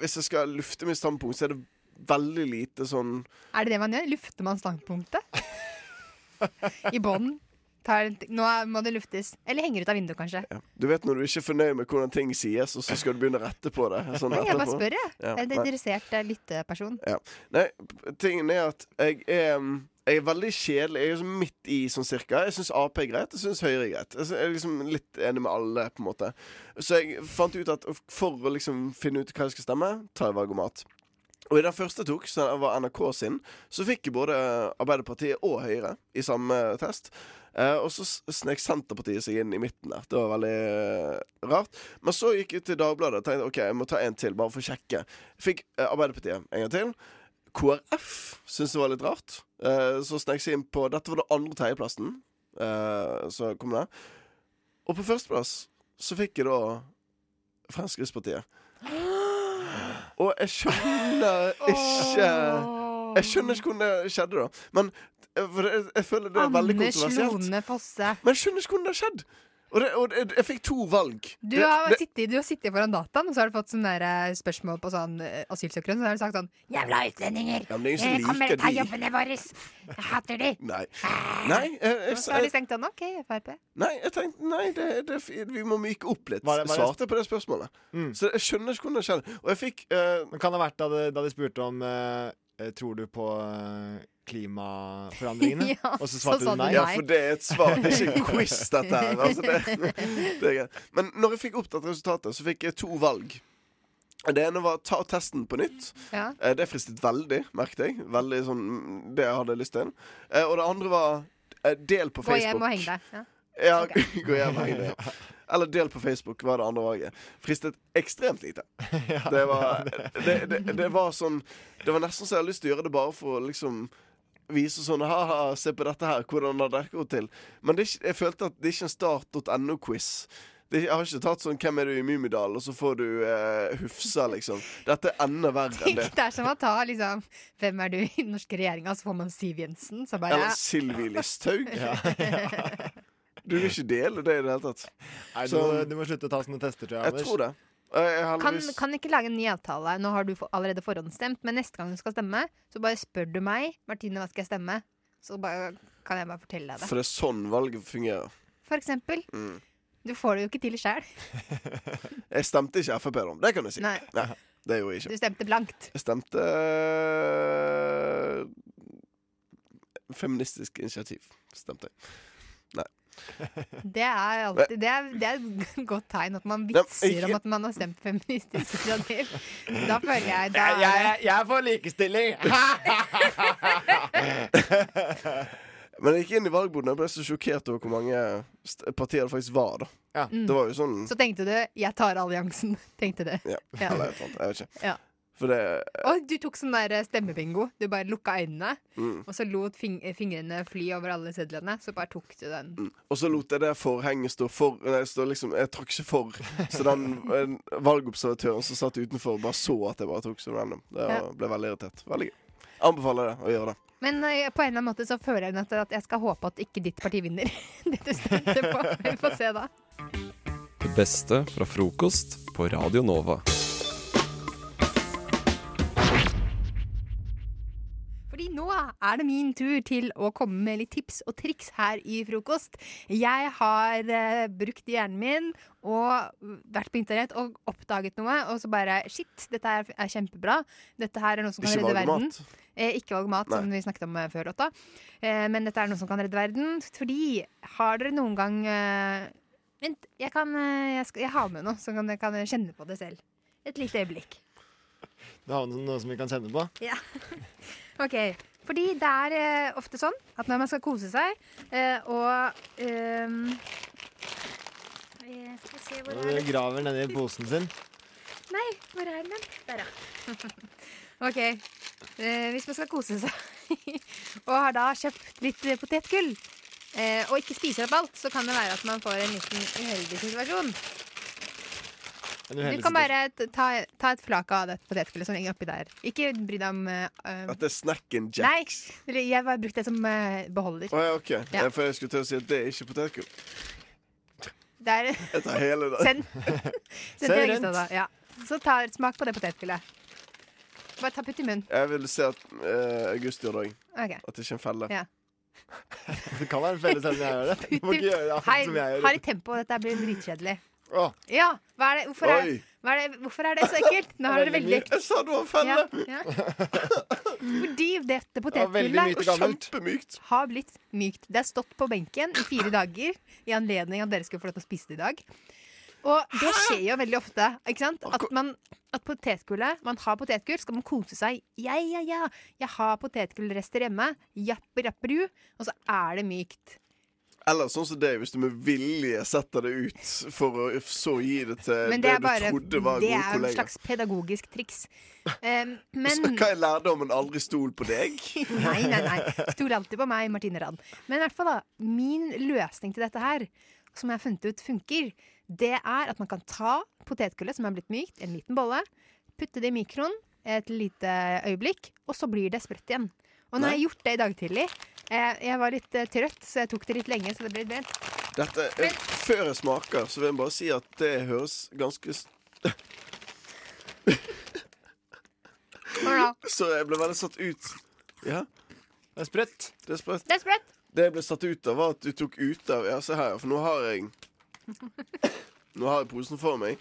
Hvis jeg skal lufte mitt standpunkt, så er det veldig lite sånn
Er det det man gjør? Lufter man standpunktet? I bånn? Tar en t- Nå er- må det luftes. Eller henger ut av vinduet, kanskje.
Du vet når du ikke er fornøyd med hvordan ting sies, og så skal du begynne å rette på det. Sånn
Nei, jeg bare
etterpå.
spør, jeg.
Ja,
Jeg er en
nei.
interessert eh, lytteperson.
Ja. Nei, p- tingen er at jeg er mm, jeg er veldig kjedelig. Jeg er sånn midt i, sånn cirka. Jeg syns Ap er greit, jeg syns Høyre er greit. Jeg sy- jeg er liksom litt enig med alle, på en måte. Så jeg fant ut at for å liksom finne ut hva jeg skal stemme, tar jeg valgomat. Og i den første jeg tok, som var NRK sin, så fikk jeg både Arbeiderpartiet og Høyre i samme test. Eh, og så s- snek Senterpartiet seg inn i midten der. Det var veldig eh, rart. Men så gikk jeg til Dagbladet og tenkte ok, jeg må ta en til, bare for å sjekke. Fikk eh, Arbeiderpartiet en gang til. KrF syntes det var litt rart. Eh, så snek seg inn på Dette var den andre tredjeplassen. Eh, så kom det. Og på førsteplass så fikk jeg da Fremskrittspartiet. Og jeg skjønner ikke Jeg skjønner ikke hvordan det skjedde, da. Men eh, for jeg, jeg føler det er veldig
Anders
kontroversielt.
Lone Fosse.
Men jeg skjønner ikke hvordan det har skjedd. Og, det, og det, jeg fikk to valg.
Du
Det-
har,
det-
sittet, du har sittet foran dataen, og så har du fått sånne der, eh, spørsmål på sånn eh, asylsøkeren. Så har du sagt sånn Jævla utlendinger!
Ja, men det er ingen som
Eh, Kommer
liker
og tar
de.»
jobbene våre! Jeg hater de!
Nei. Nei, eh, jeg, jeg,
Og så har de
jeg,
stengt den. OK, Frp.
nei, jeg tenkte Nei, det, det, vi må myke opp litt.
Var det- var det-
Svarte jeg på det spørsmålet. Så jeg skjønner ikke hvordan det skjedde. Og jeg fikk
Mm.
eh,
Men kan det ha vært da de, da de spurte om eh, eh, Tror du på eh, klimaforandringene?
Ja,
og så
så
svarte
sa
du
du
nei?
Ja, for det er et svar, det er ikke en quiz, dette her. Altså, det, det er greit. Men når jeg fikk opptatt resultatet, så fikk jeg to valg. Det ene var ta testen på nytt.
Ja.
Eh, Det fristet veldig, merket jeg. Veldig sånn mm, Det jeg hadde lyst til. Eh, Og det andre var eh, del på
Gå hjem
Facebook.
og heng deg. Ja.
Ja, gå hjem og heng deg. ja. Eller del på Facebook, var det andre valget. Fristet ekstremt lite. Det var, det, det, det var sånn Det var nesten så jeg hadde lyst til å gjøre det bare for å liksom vise sånn Ha-ha, se på dette her, hvordan har dere gått til? Men det er, ikke- jeg følte at det er ikke en start.no-quiz. Det- Jeg har ikke tatt sånn 'Hvem er du i Mummidalen?' og så får du eh, Hufsa, liksom. Dette er enda verre enn
Tenk,
det.
det er som å ta liksom Hvem er du i den norske regjeringa? Så får man Siv Jensen, så bare
Eller Sylvi Listhaug. Du vil ikke dele det i det hele tatt.
Nei, du,
Så-
må, du må slutte å ta sånne tester, tror jeg.
Jeg
Anders.
tror det. Eh, Jeg har
Kan,
heldigvis-
kan ikke lage en ny avtale. Nå har du for, allerede forhåndsstemt, men neste gang du skal stemme, så bare spør du meg. Martine, hva skal jeg stemme? Så bare, kan jeg bare fortelle deg
For det
det.
er sånn valget fungerer.
For eksempel.
Mm.
Du får det jo ikke til sjæl.
Jeg stemte ikke Frp, da. Det kan jeg si.
Nei.
det gjorde jeg
Du
ikke.
stemte blankt.
Jeg stemte eh, Feministisk initiativ. Stemte jeg. Nei.
Det er alltid Det er, det er et godt tegn at man vitser om at man har stemt feministisk initiativ. Da føler jeg da
Jeg,
er det
jeg, jeg er for likestilling!
Men jeg gikk inn i valgboden og ble så sjokkert over hvor mange st- partier det faktisk var. da
Mm.
Det var jo sånn
Så tenkte du 'jeg tar alliansen'. Tenkte du.
ja.
Ja.
Eller et eller annet. Jeg vet ikke.
Ja.
For det eh,
Og du tok sånn der stemmebingo. Du bare lukka øynene,
Mm.
og så lot fing fingrene fly over alle sedlene. Så bare tok du den.
Mm. Og så lot jeg det forhenget stå for Nei, stå liksom, Jeg trakk ikke for. Så den eh, valgobservatøren som satt utenfor, bare så at jeg bare tok så random. Det
Ja.
ble veldig irritert. Veldig gøy. Anbefaler det å gjøre det.
Men eh, på en eller annen måte så føler jeg at, at jeg skal håpe at ikke ditt parti vinner. det du stemte på. Vi får se, da.
Det beste fra frokost på Radio Nova.
Fordi nå er det min tur til å komme med litt tips og triks her i frokost. Jeg har eh, brukt hjernen min og vært på internett og oppdaget noe, og så bare Shit, dette er, er kjempebra. Dette her er noe som kan
Ikke
redde
valg
verden.
mat.
Eh, ikke valg mat, som
Nei.
vi snakket om eh, før låta. Eh, men dette er noe som kan redde verden. Fordi har dere noen gang eh, Vent, jeg, kan, eh, jeg, skal, jeg har med noe, så kan dere kan kjenne på det selv. Et lite øyeblikk.
Du har noe som vi kan kjenne på?
Ja. Ok, fordi det er eh, ofte sånn at når man skal kose seg eh, og ehm, eh, Skal vi se hvor
Og
er
du
det
graver nedi posen sin.
Nei, hvor er den? Der, ja. OK. Eh, hvis man skal kose seg og har da kjøpt litt eh, potetgull eh, og ikke spiser opp alt, så kan det være at man får en liten uheldig situasjon.
En
Du
uheldig
kan
situasjon.
bare t- ta, ta et flak av det potetgullet som ligger oppi der. Ikke bry deg om eh, eh,
At det er snack and jack.
Nei, eller jeg bare brukte det som eh, beholder.
Å ja, OK.
Ja.
Ja. For jeg skulle til å si at det er ikke potetgull.
Det er
Jeg tar hele det.
Send. Send til
Send
Øyestad, da.
rundt.
Ja. Så ta, smak på det potetgullet. Bare ta putt i munnen.
Jeg vil se at eh, August gjør det òg.
Ok.
At det ikke er en felle.
Ja.
Det kan være en felles selv om jeg gjør det. Du må ikke gjøre det
Hei,
akkurat som jeg gjør.
ha litt tempo, dette blir dritkjedelig.
Åh.
Ja, hva er det? Hvorfor, er,
Oi.
hva er det? Hvorfor er det så ekkelt? Nå har dere
Veldig
veldig
mye. Jeg
sa det var
felle! Ja, ja. Fordi dette
veldig mykt og gammelt.
potetgullet har blitt mykt. Det har stått på benken i fire dager i anledning at dere skulle få lov til å spise det i dag. Og det skjer jo veldig ofte. Ikke sant? At, man, at potetgullet Man har potetgull, skal man kose seg. Ja, ja, ja. Jeg har potetgullrester hjemme. Japper, japper, du. Og så er det mykt.
Eller sånn som det, hvis du med vilje setter det ut for å så gi det til
Men
Eh, det,
det er bare
du trodde var
Det
gode
er jo et
kollegaer.
slags pedagogisk triks. Um, men
Så hva er lærdommen? Aldri stol på deg?
Nei, nei, nei. Stol alltid på meg, Martine Rand. Men i hvert fall da, min løsning til dette her, som jeg har funnet ut funker, det er at man kan ta potetgullet, som er blitt mykt, en liten bolle, putte det i mikroen et lite øyeblikk, og så blir det sprøtt igjen. Og nå har jeg gjort det i dag tidlig. Eh, Jeg var litt eh, trøtt, så jeg tok det litt lenge, så det ble litt brent.
Dette, eh, før jeg smaker, så vil jeg bare si at det høres ganske s- Så jeg ble veldig satt ut. Ja? Det er sprøtt. Det er sprøtt.
Det er sprøtt.
Det jeg ble satt ut av, var at du tok ut av Ja, se her, for nå har jeg Nå har jeg posen for meg.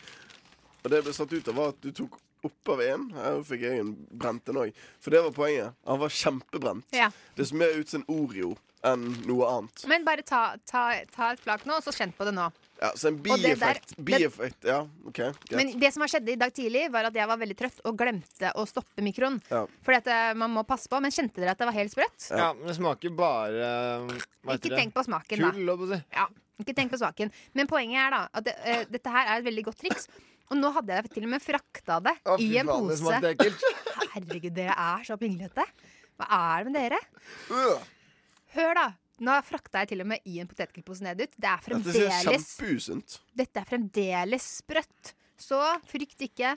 Og det jeg ble satt ut av, var at du tok opp av en. Her fikk jeg en brent en òg. For det var poenget. Han var kjempebrent.
Ja.
Det ser mer ut som en Oreo enn noe annet.
Men bare ta, ta, ta et flak nå, og så kjenn på det nå.
Ja, Så en
Og det der-
bieffekt. Bieffekt, ja. OK. greit.
Men det som har skjedd i dag tidlig, var at jeg var veldig trøtt og glemte å stoppe mikroen.
ja.
Fordi at eh, man må passe på. Men kjente dere at det var helt sprøtt?
Ja, men det smaker bare eh, hva heter
Ikke
det?
tenk på smaken,
Kull,
da.
holdt på å si.
Ja, ikke tenk på smaken. Men poenget er da at det, eh, dette her er et veldig godt triks. Og nå hadde jeg til og med frakta det i
fy
en
faen,
pose.
det smakte
Herregud, dere er så pinglete. Hva er det med dere? Hør, da. Nå frakta jeg til og med i en potetgullpose ned ut. Det er
Dette ser
fremdeles
kjempeusunt
Dette er fremdeles sprøtt. Så frykt ikke.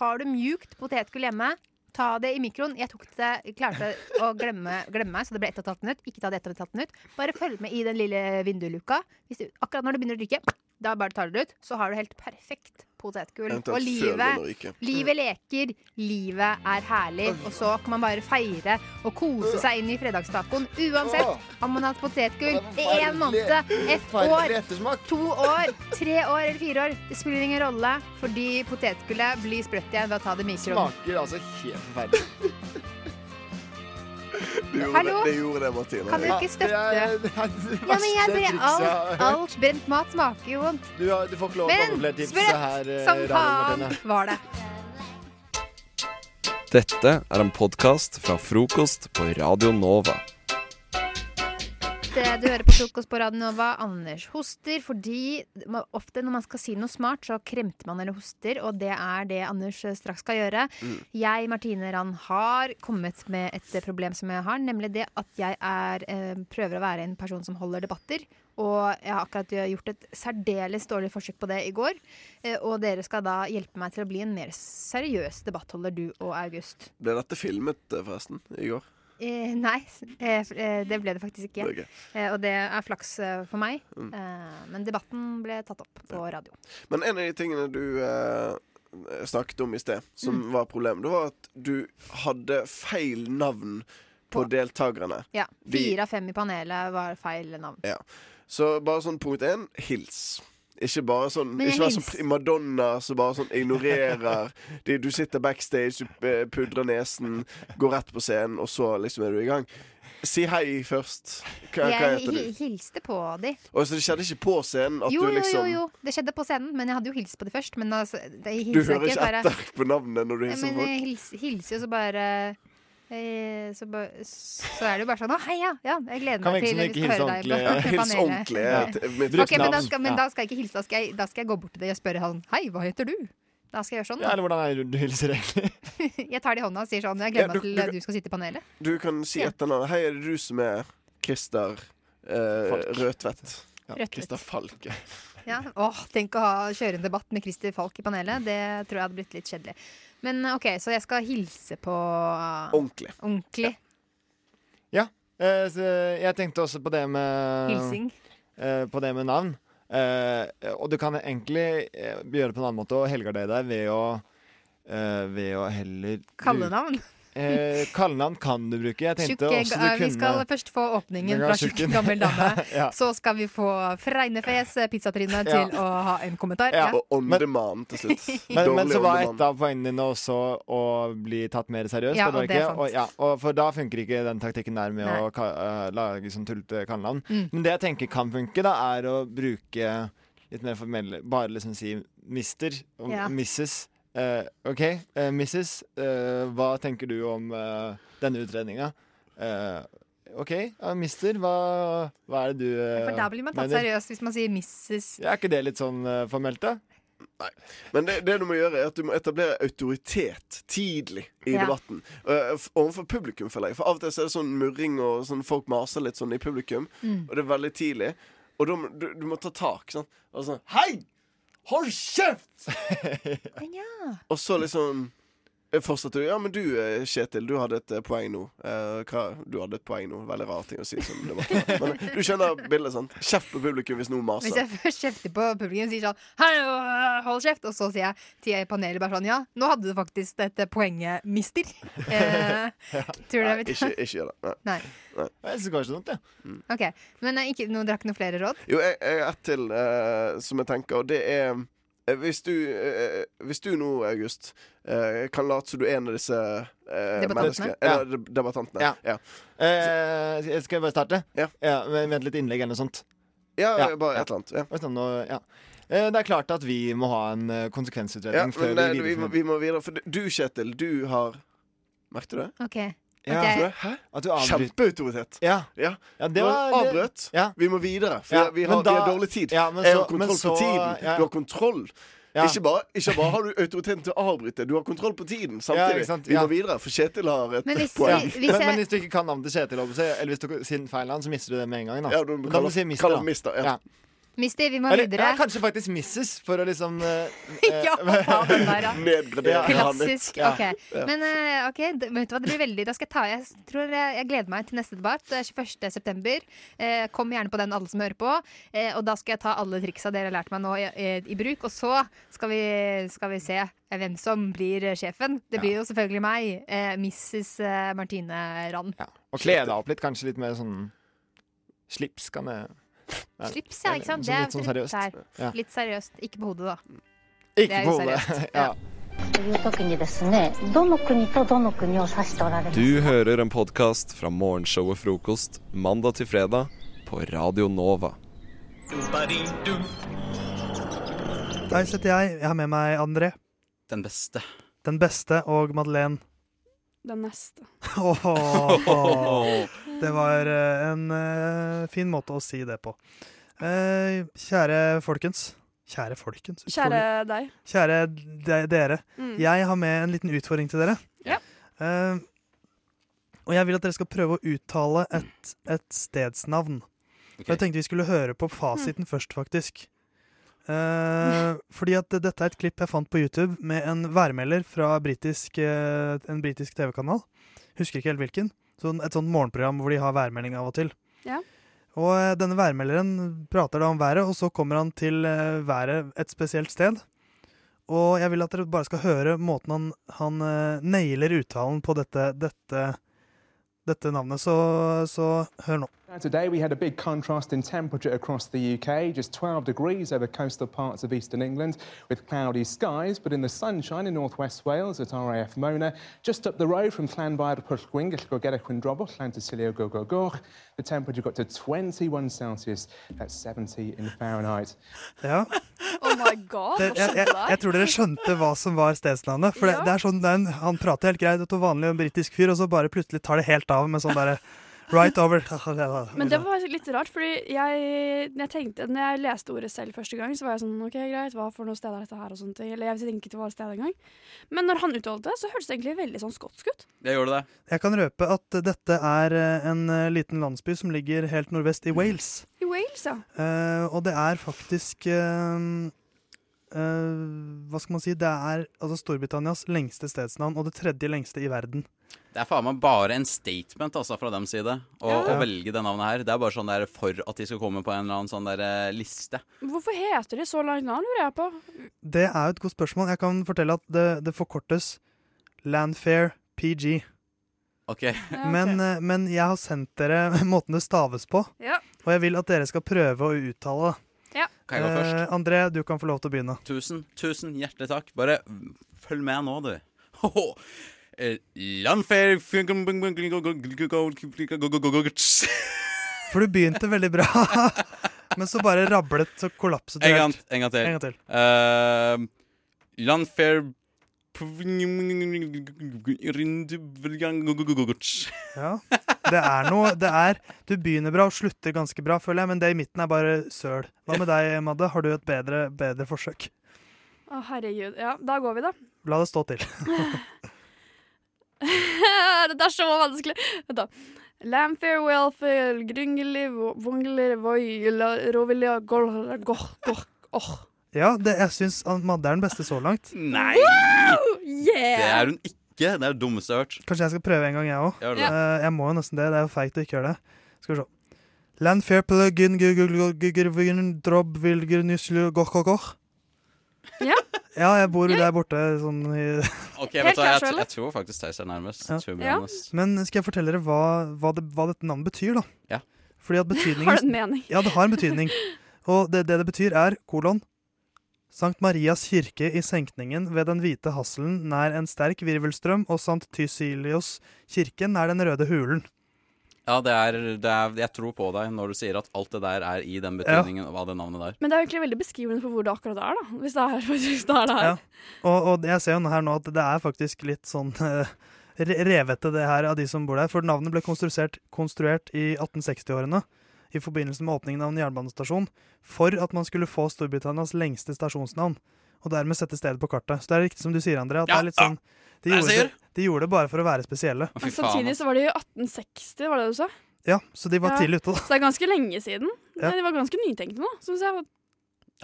Har du mjukt potetgull hjemme, ta det i mikroen. Jeg tok det, jeg klarte å glemme, glemme meg, så det ble 1 12 minutt. Ikke ta det 1 12 minutt. Bare følg med i den lille vinduluka. Hvis du, akkurat når det begynner å ryke, da bare tar du det ut. Så har du helt perfekt potetgull. Og
Eventuelt før det begynner å
livet,
ryke.
livet leker, livet er herlig. Og så kan man bare feire og kose seg inn i fredagstacoen. Uansett om man har hatt potetgull i én måned, ett
Forferdelig
år, to år, tre år eller fire år. Det spiller ingen rolle, fordi potetgullet blir sprøtt igjen ved å ta det i mikroen.
Smaker altså helt forferdelig.
Du gjorde
Hallo?
det, det, gjorde det Martine.
Kan du ikke støtte? Ja, men jeg,
verste
bre-
trikset jeg har
alt,
hørt.
alt brent mat smaker jo vondt.
Du, har- du får ikke lov å komme
Men
med flere tips
sprøtt
her. eh,
som
i radioen,
faen
Martine.
var det.
Dette er en podkast fra frokost på Radio Nova.
Det du hører på frokost på Radio Nova, Anders hoster fordi man- ofte når man skal si noe smart, så kremter man eller hoster, og det er det Anders eh, straks skal gjøre.
Mm.
Jeg, Martine Rand, har kommet med et eh, problem som jeg har, nemlig det at jeg er, eh, prøver å være en person som holder debatter. Og jeg har akkurat eh, gjort et særdeles dårlig forsøk på det i går. eh, Og dere skal da hjelpe meg til å bli en mer seriøs debattholder, du og August.
Ble dette filmet eh, forresten i går?
Eh, nei, s- eh, f- eh, det ble det faktisk ikke.
Ok.
Eh, og det er flaks eh, for meg.
Mm.
Eh, men debatten ble tatt opp på radio.
Men en av de tingene du eh, snakket om i sted, som
Mm.
var problemet, det var at du hadde feil navn
på.
på deltakerne.
Ja,
De-
Fire av fem i panelet var feil navn.
Ja. Så bare sånn punkt én hils. Ikke bare sånn
Men jeg
Ikke vær sånn
hils-
primadonna som bare sånn ignorerer de, Du sitter backstage, du eh, pudrer nesen, går rett på scenen, og så liksom er du i gang. Si hei først. Hva, hva
Jeg
heter
hi-
du?
hilste på de.
Og så det skjedde ikke på scenen at
Jo,
du
jo, jo,
liksom
jo, det skjedde på scenen, men jeg hadde jo hilst på de først. Men altså, det, jeg
Du
hilser
hører ikke
bare-
etter på navnet når du
Nei,
hilser
men
på
jeg
folk.
hils, hilser jo så bare eh, så, ba, så er det jo bare sånn Å, hei, ja! ja jeg gleder
Kan
meg til vi
virke som ikke
skal høre
hilse
deg. på- på
ordentlig. Ja, hils
panelet.
ordentlig, ja.
Ja.
T- mitt
Ok, men, da
navn.
skal, men
Ja.
da skal jeg ikke hilse. Da skal jeg, da skal jeg gå bort til deg og spørre han Hei, hva heter du? Da skal jeg gjøre sånn.
Ja, eller hvordan er det du hilser egentlig?
Jeg tar det i hånda og sier sånn Jeg
Ja,
gleder
du-
meg til
du-
eh, du skal sitte i panelet.
Du kan si etternavnet. Hei, er det du som er Christer eh, Rødtvedt?
Rødtvedt.
Christer Falk. ja.
Ja. Åh, tenk å ha, kjøre en debatt med Christer Falk i panelet. Det tror jeg hadde blitt litt kjedelig. Men eh, OK, så jeg skal hilse på
Ordentlig.
Ordentlig.
Ja. eh, så Jeg tenkte også på det med
Hilsing.
eh, På det med navn. Eh, og du kan egentlig eh, gjøre det på en annen måte og helgardere deg ved å eh, Ved å heller bruke-
Kallenavn.
Eh, kallenavn kan du bruke. Jeg tenkte
Tjukk, eh,
også du
ga-
kunne
vi skal først få åpningen
Du kan
fra
ha
tjukk
tjukken.
gammel dame.
Ja.
Så skal vi få fregnefjes, eh, pizzatryne, til
Ja.
å ha en kommentar.
Ja.
Ja.
Og on demand til slutt.
Men, men så
on
var
demand.
et av poengene dine også å bli tatt mer seriøst.
Ja,
var
og det er
ikke?
sant.
Og, ja, og for da funker ikke den taktikken der med
Nei.
å ka eh, lage sånn tullete kallenavn.
Mm.
Men det jeg tenker kan funke, da, er å bruke litt mer formelle Bare liksom si mister og
Ja.
misses. Eh, OK, eh, misses, eh, hva tenker du om eh, denne utredninga? Eh, OK, ja, mister, hva, hva er det du uh,
For da blir man tatt seriøst hvis man sier Mrs.
Ja, er ikke det litt sånn eh, formelt, da?
Men det, det du må gjøre, er at du må etablere autoritet tidlig i
Ja.
debatten. Eh, f- overfor publikum, føler jeg. For av og til så er det sånn murring og sånn folk maser litt sånn i publikum.
Mm.
Og det er veldig tidlig. Og da må du, du må ta tak. Sånn. Og sånn Hei! Hold kjeft! og så liksom eh, fortsetter du. Ja, men du, eh, Kjetil, du hadde et eh, poeng nå. Eh, hva? Du hadde et poeng nå. Veldig rar ting å si. Sånn, debatt. men eh, du skjønner bildet, sant? Kjeft på publikum hvis noen maser.
Hvis jeg først kjefter på publikum og sier sånn Hei, øh, hold kjeft! Og så sier jeg til jeg i panelet bare sånn Ja, nå hadde du faktisk dette poenget, mister. Eh,
Ja.
tror du jeg
Nei,
vet-
ikke, ikke gjør det.
Nei.
Jeg syns kanskje noe,
ja.
OK. Men eh, ikke, nå drakk noen flere råd?
Jo, jeg, jeg har ett til eh, som jeg tenker, og det er eh, hvis du, eh, hvis du nå, August, eh, kan late som du er en av disse uh, menneskene Eller de- debattantene.
Ja.
Ja.
Eh, jeg skal jeg bare starte?
Ja.
men vent litt innlegg eller noe sånt.
Ja, bare et eller annet.
Og sånn, og- ja. Eh, Det er klart at vi må ha en eh, konsekvensutredning
Ja,
før
men nei,
vi
vi, må-
viderefører.
vi må videre. For du, Kjetil, du har Merket du det?
OK.
Ja.
At jeg-
Hæ?
At du avbryter.
Kjempeautoritet.
Ja.
Ja.
Ja, det
Nå
var-
avbrøt. Vi må videre, for
Ja,
vi,
men
har, vi
da-
har dårlig tid.
Ja, men
jeg
så-
har kontroll
men så-
på tiden.
ja.
Du har kontroll.
Ja.
Ikke, bare, ikke bare har du autoriteten til å avbryte, du har kontroll på tiden
Ja,
samtidig.
ikke sant?
Vi
Ja.
må videre, for Kjetil har et
Men hvis-
poeng.
Ja. hvis Men- jeg- men hvis du ikke kan navnet til Kjetil, holdt jeg på å si, eller hvis du sier feil navn, så mister du det med en gang. Da,
Ja, du
Da
kaller-
må du si mister.
kaller
da.
mister, ja.
Mister, vi må
Eller
videre.
ja, kanskje faktisk misses, for å liksom eh,
Ja, ta den der, ja.
Nedgradere han litt.
Klassisk.
Ja.
Ok. Men eh, ok, d- vet du hva, det blir veldig Da skal jeg ta Jeg tror jeg, jeg gleder meg til neste debatt. Det er 21. september. Eh, kom gjerne på den, alle som hører på. Eh, og da skal jeg ta alle triksa dere har lært meg nå, i, eh, i bruk. Og så skal vi, skal vi se hvem som blir eh, sjefen. Det blir jo selvfølgelig meg. Eh, Mrs. eh, Martine Rand.
Og kle deg opp litt, kanskje litt mer sånn Slips kan jeg Nei.
Slips, ja. ikke sant?
Eller
Det er
Litt sånn
der.
seriøst. Ja.
Litt seriøst. Ikke på hodet, da.
Ikke
Det er
på
jo
hodet.
seriøst.
Ja.
という時にですねどの国とどの国を指しておられます
Du hører en podkast fra morgenshowet Frokost mandag til fredag på Radio Nova.
Der sitter jeg. Jeg har med meg André.
Den beste.
Den beste og Madeleine.
Den neste.
Åh, Det var eh, en eh, fin måte å si det på. Eh, kjære folkens. Kjære folkens.
Kjære
utrolig.
deg.
Kjære de dere.
Mm.
Jeg har med en liten utfordring til dere.
Ja.
Eh, og jeg vil at dere skal prøve å uttale et, et stedsnavn. Og Jeg tenkte vi skulle høre på fasiten
Mm.
først, faktisk. Eh, fordi at dette er et klipp jeg fant på YouTube med en værmelder fra britisk, eh, en britisk TV-kanal. Husker ikke helt hvilken. Sånn, et sånt morgenprogram hvor de har værmelding av og til.
Ja.
Og eh, denne værmelderen prater da om været, og så kommer han til eh, været et spesielt sted. Og jeg vil at dere bare skal høre måten han, han eh, nailer uttalen på dette, dette dette navnet, så, så hør nå.
Now, Today we had a big contrast in temperature across the UK, just 12 degrees over coastal parts of eastern England with cloudy skies, but in the sunshine in northwest Wales at RAF Mona, just up the road from Llanfair Pwllgwyn, Gellgo Gwendrobol, Llantysilio Gogogoch, the temperature got to 21 Celsius, that's 70 in Fahrenheit.
Ja.
Oh my god,
Det, jeg, jeg, jeg tror dere skjønte hva som var stedsnavnet. For det,
Ja.
det er sånn, det er en, Han prater helt greit, og vanlig en britisk fyr, og så bare plutselig tar det helt av med sånn derre Right over
Men det var litt rart, fordi jeg, når jeg tenkte, når jeg leste ordet selv første gang, så var jeg sånn OK, greit, hva for noe sted er dette her, og sånne ting. Eller jeg tenkte ikke det var et sted engang. Men når han uttalte det, så hørtes det egentlig veldig sånn skotsk ut.
Jeg gjorde det.
Jeg kan røpe at dette er eh, en eh, liten landsby som ligger helt nordvest i
Mm.
Wales.
I Wales, ja.
Eh, og det er faktisk eh, eh, Hva skal man si? Det er altså Storbritannias lengste stedsnavn, og det tredje lengste i verden.
Det er faen meg bare en statement altså, fra dems side å,
Ja.
å velge det navnet her. Det er bare sånn der for at de skal komme på en eller annen sånn der eh, liste.
Hvorfor heter de så langt navn, lurer jeg på.
Det er jo et godt spørsmål. Jeg kan fortelle at det, det forkortes Landfair PG.
Ok.
Men, eh, men jeg har sendt dere måten det staves på,
Ja.
og jeg vil at dere skal prøve å uttale det.
Ja.
Kan jeg gå først?
Eh, André, du kan få lov til å begynne.
Tusen, tusen hjertelig takk. Bare følg med nå, du. Hoho. Eh, Landfair
For du begynte veldig bra, men så bare rablet, så kollapset du
En gang,
helt.
en gang til.
En gang til.
Eh, Landfair Nei,
Ja. Det er noe det er, Du begynner bra og slutter ganske bra, føler jeg, men det i midten er bare søl. Hva med deg, Madde? Har du et bedre, bedre forsøk?
Å, herregud. Ja, da går vi, da.
La det stå til.
Dette er så vanskelig. Vent, da. Lamfair, welfare, gryngeli, vongler, voi, la- rovilia, gol- goh, goh, åh.
Ja, det, jeg syns Madde er den beste så langt.
Wow!
det
Yeah!
er hun ikke. Det er det dummeste jeg har hørt.
Kanskje jeg skal prøve en gang, jeg òg.
Gjør det.
Eh, jeg må jo nesten det. Det er jo feigt å ikke gjøre det. Skal vi se. Landfair plugin
Ja.
ja, jeg bor jo der borte sånn i
Ok, vet du, hva, jeg, t- jeg tror faktisk Theis er nærmest. to be honest.
Men skal jeg fortelle dere hva, hva, det, hva dette navnet betyr, da?
Ja.
Fordi at betydningen
Har det en mening?
Ja, det har en betydning. Og det det, det betyr, er kolon Sankt Marias kirke i senkningen ved den hvite hasselen nær en sterk virvelstrøm, og Sankt Tysilios kirke nær den røde hulen.
Ja, det er, det er, jeg tror på deg når du sier at alt det der er i den betydningen av det navnet der.
Men det er jo egentlig veldig beskrivende for hvor det akkurat er, da. Hvis det er, hvis det, er det her.
Ja. Og, og jeg ser jo nå her nå at det er faktisk litt sånn eh, re- revete det her av de som bor der. For navnet ble konstruert, konstruert i 1860-årene i forbindelse med åpningen av en jernbanestasjon for at man skulle få Storbritannias lengste stasjonsnavn. Og dermed sette stedet på kartet. Så det er riktig som du sier, André. At det er litt sånn, de,
Jeg
gjorde
sier.
det, de gjorde det bare for å være spesielle.
Men Altså, Samtidig så var det jo 1860, var det du sa?
Ja, så de var
Ja.
tidlig ute, da.
Så det er ganske lenge siden.
Ja.
De var ganske nytenkende, da. Synes jeg.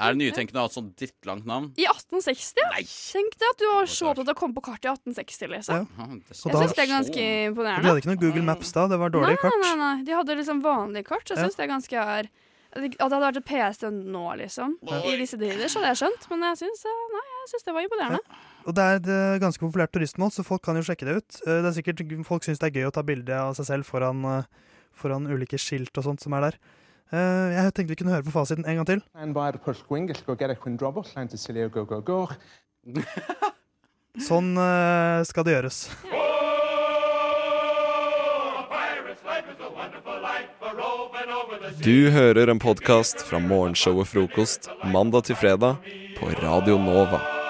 Er det nytenkende å ha et sånt drittlangt navn?
I 1860, ja. Tenk deg at du var så opptatt av å komme på kartet i 1860, liksom.
Ja, det
Jeg
er så-
syns det er ganske
Og
imponerende.
de hadde ikke noe Google Maps da. Det var dårlige
nei,
kart.
Nei, nei, nei. De hadde liksom vanlige kart. så Jeg
Ja.
syns det er ganske er At det hadde vært et PS nå, liksom. I disse tider, så hadde jeg skjønt. Men jeg syns eh, Nei, jeg syns det var imponerende.
Og det er et eh, ganske populært turistmål, så folk kan jo sjekke det ut. Eh, Det er sikkert, Folk syns det er gøy å ta bilde av seg selv foran, eh, foran ulike skilt og sånt som er der. Eh, Jeg tenkte vi kunne høre på fasiten en gang til.
Llanfair Pwllgwyn, Gellgo Gwendrobol, Llantysilio Gogogoch.
Sånn eh, skal det gjøres.
Du hører en podkast fra morgenshowet Frokost mandag til fredag på Radio Nova.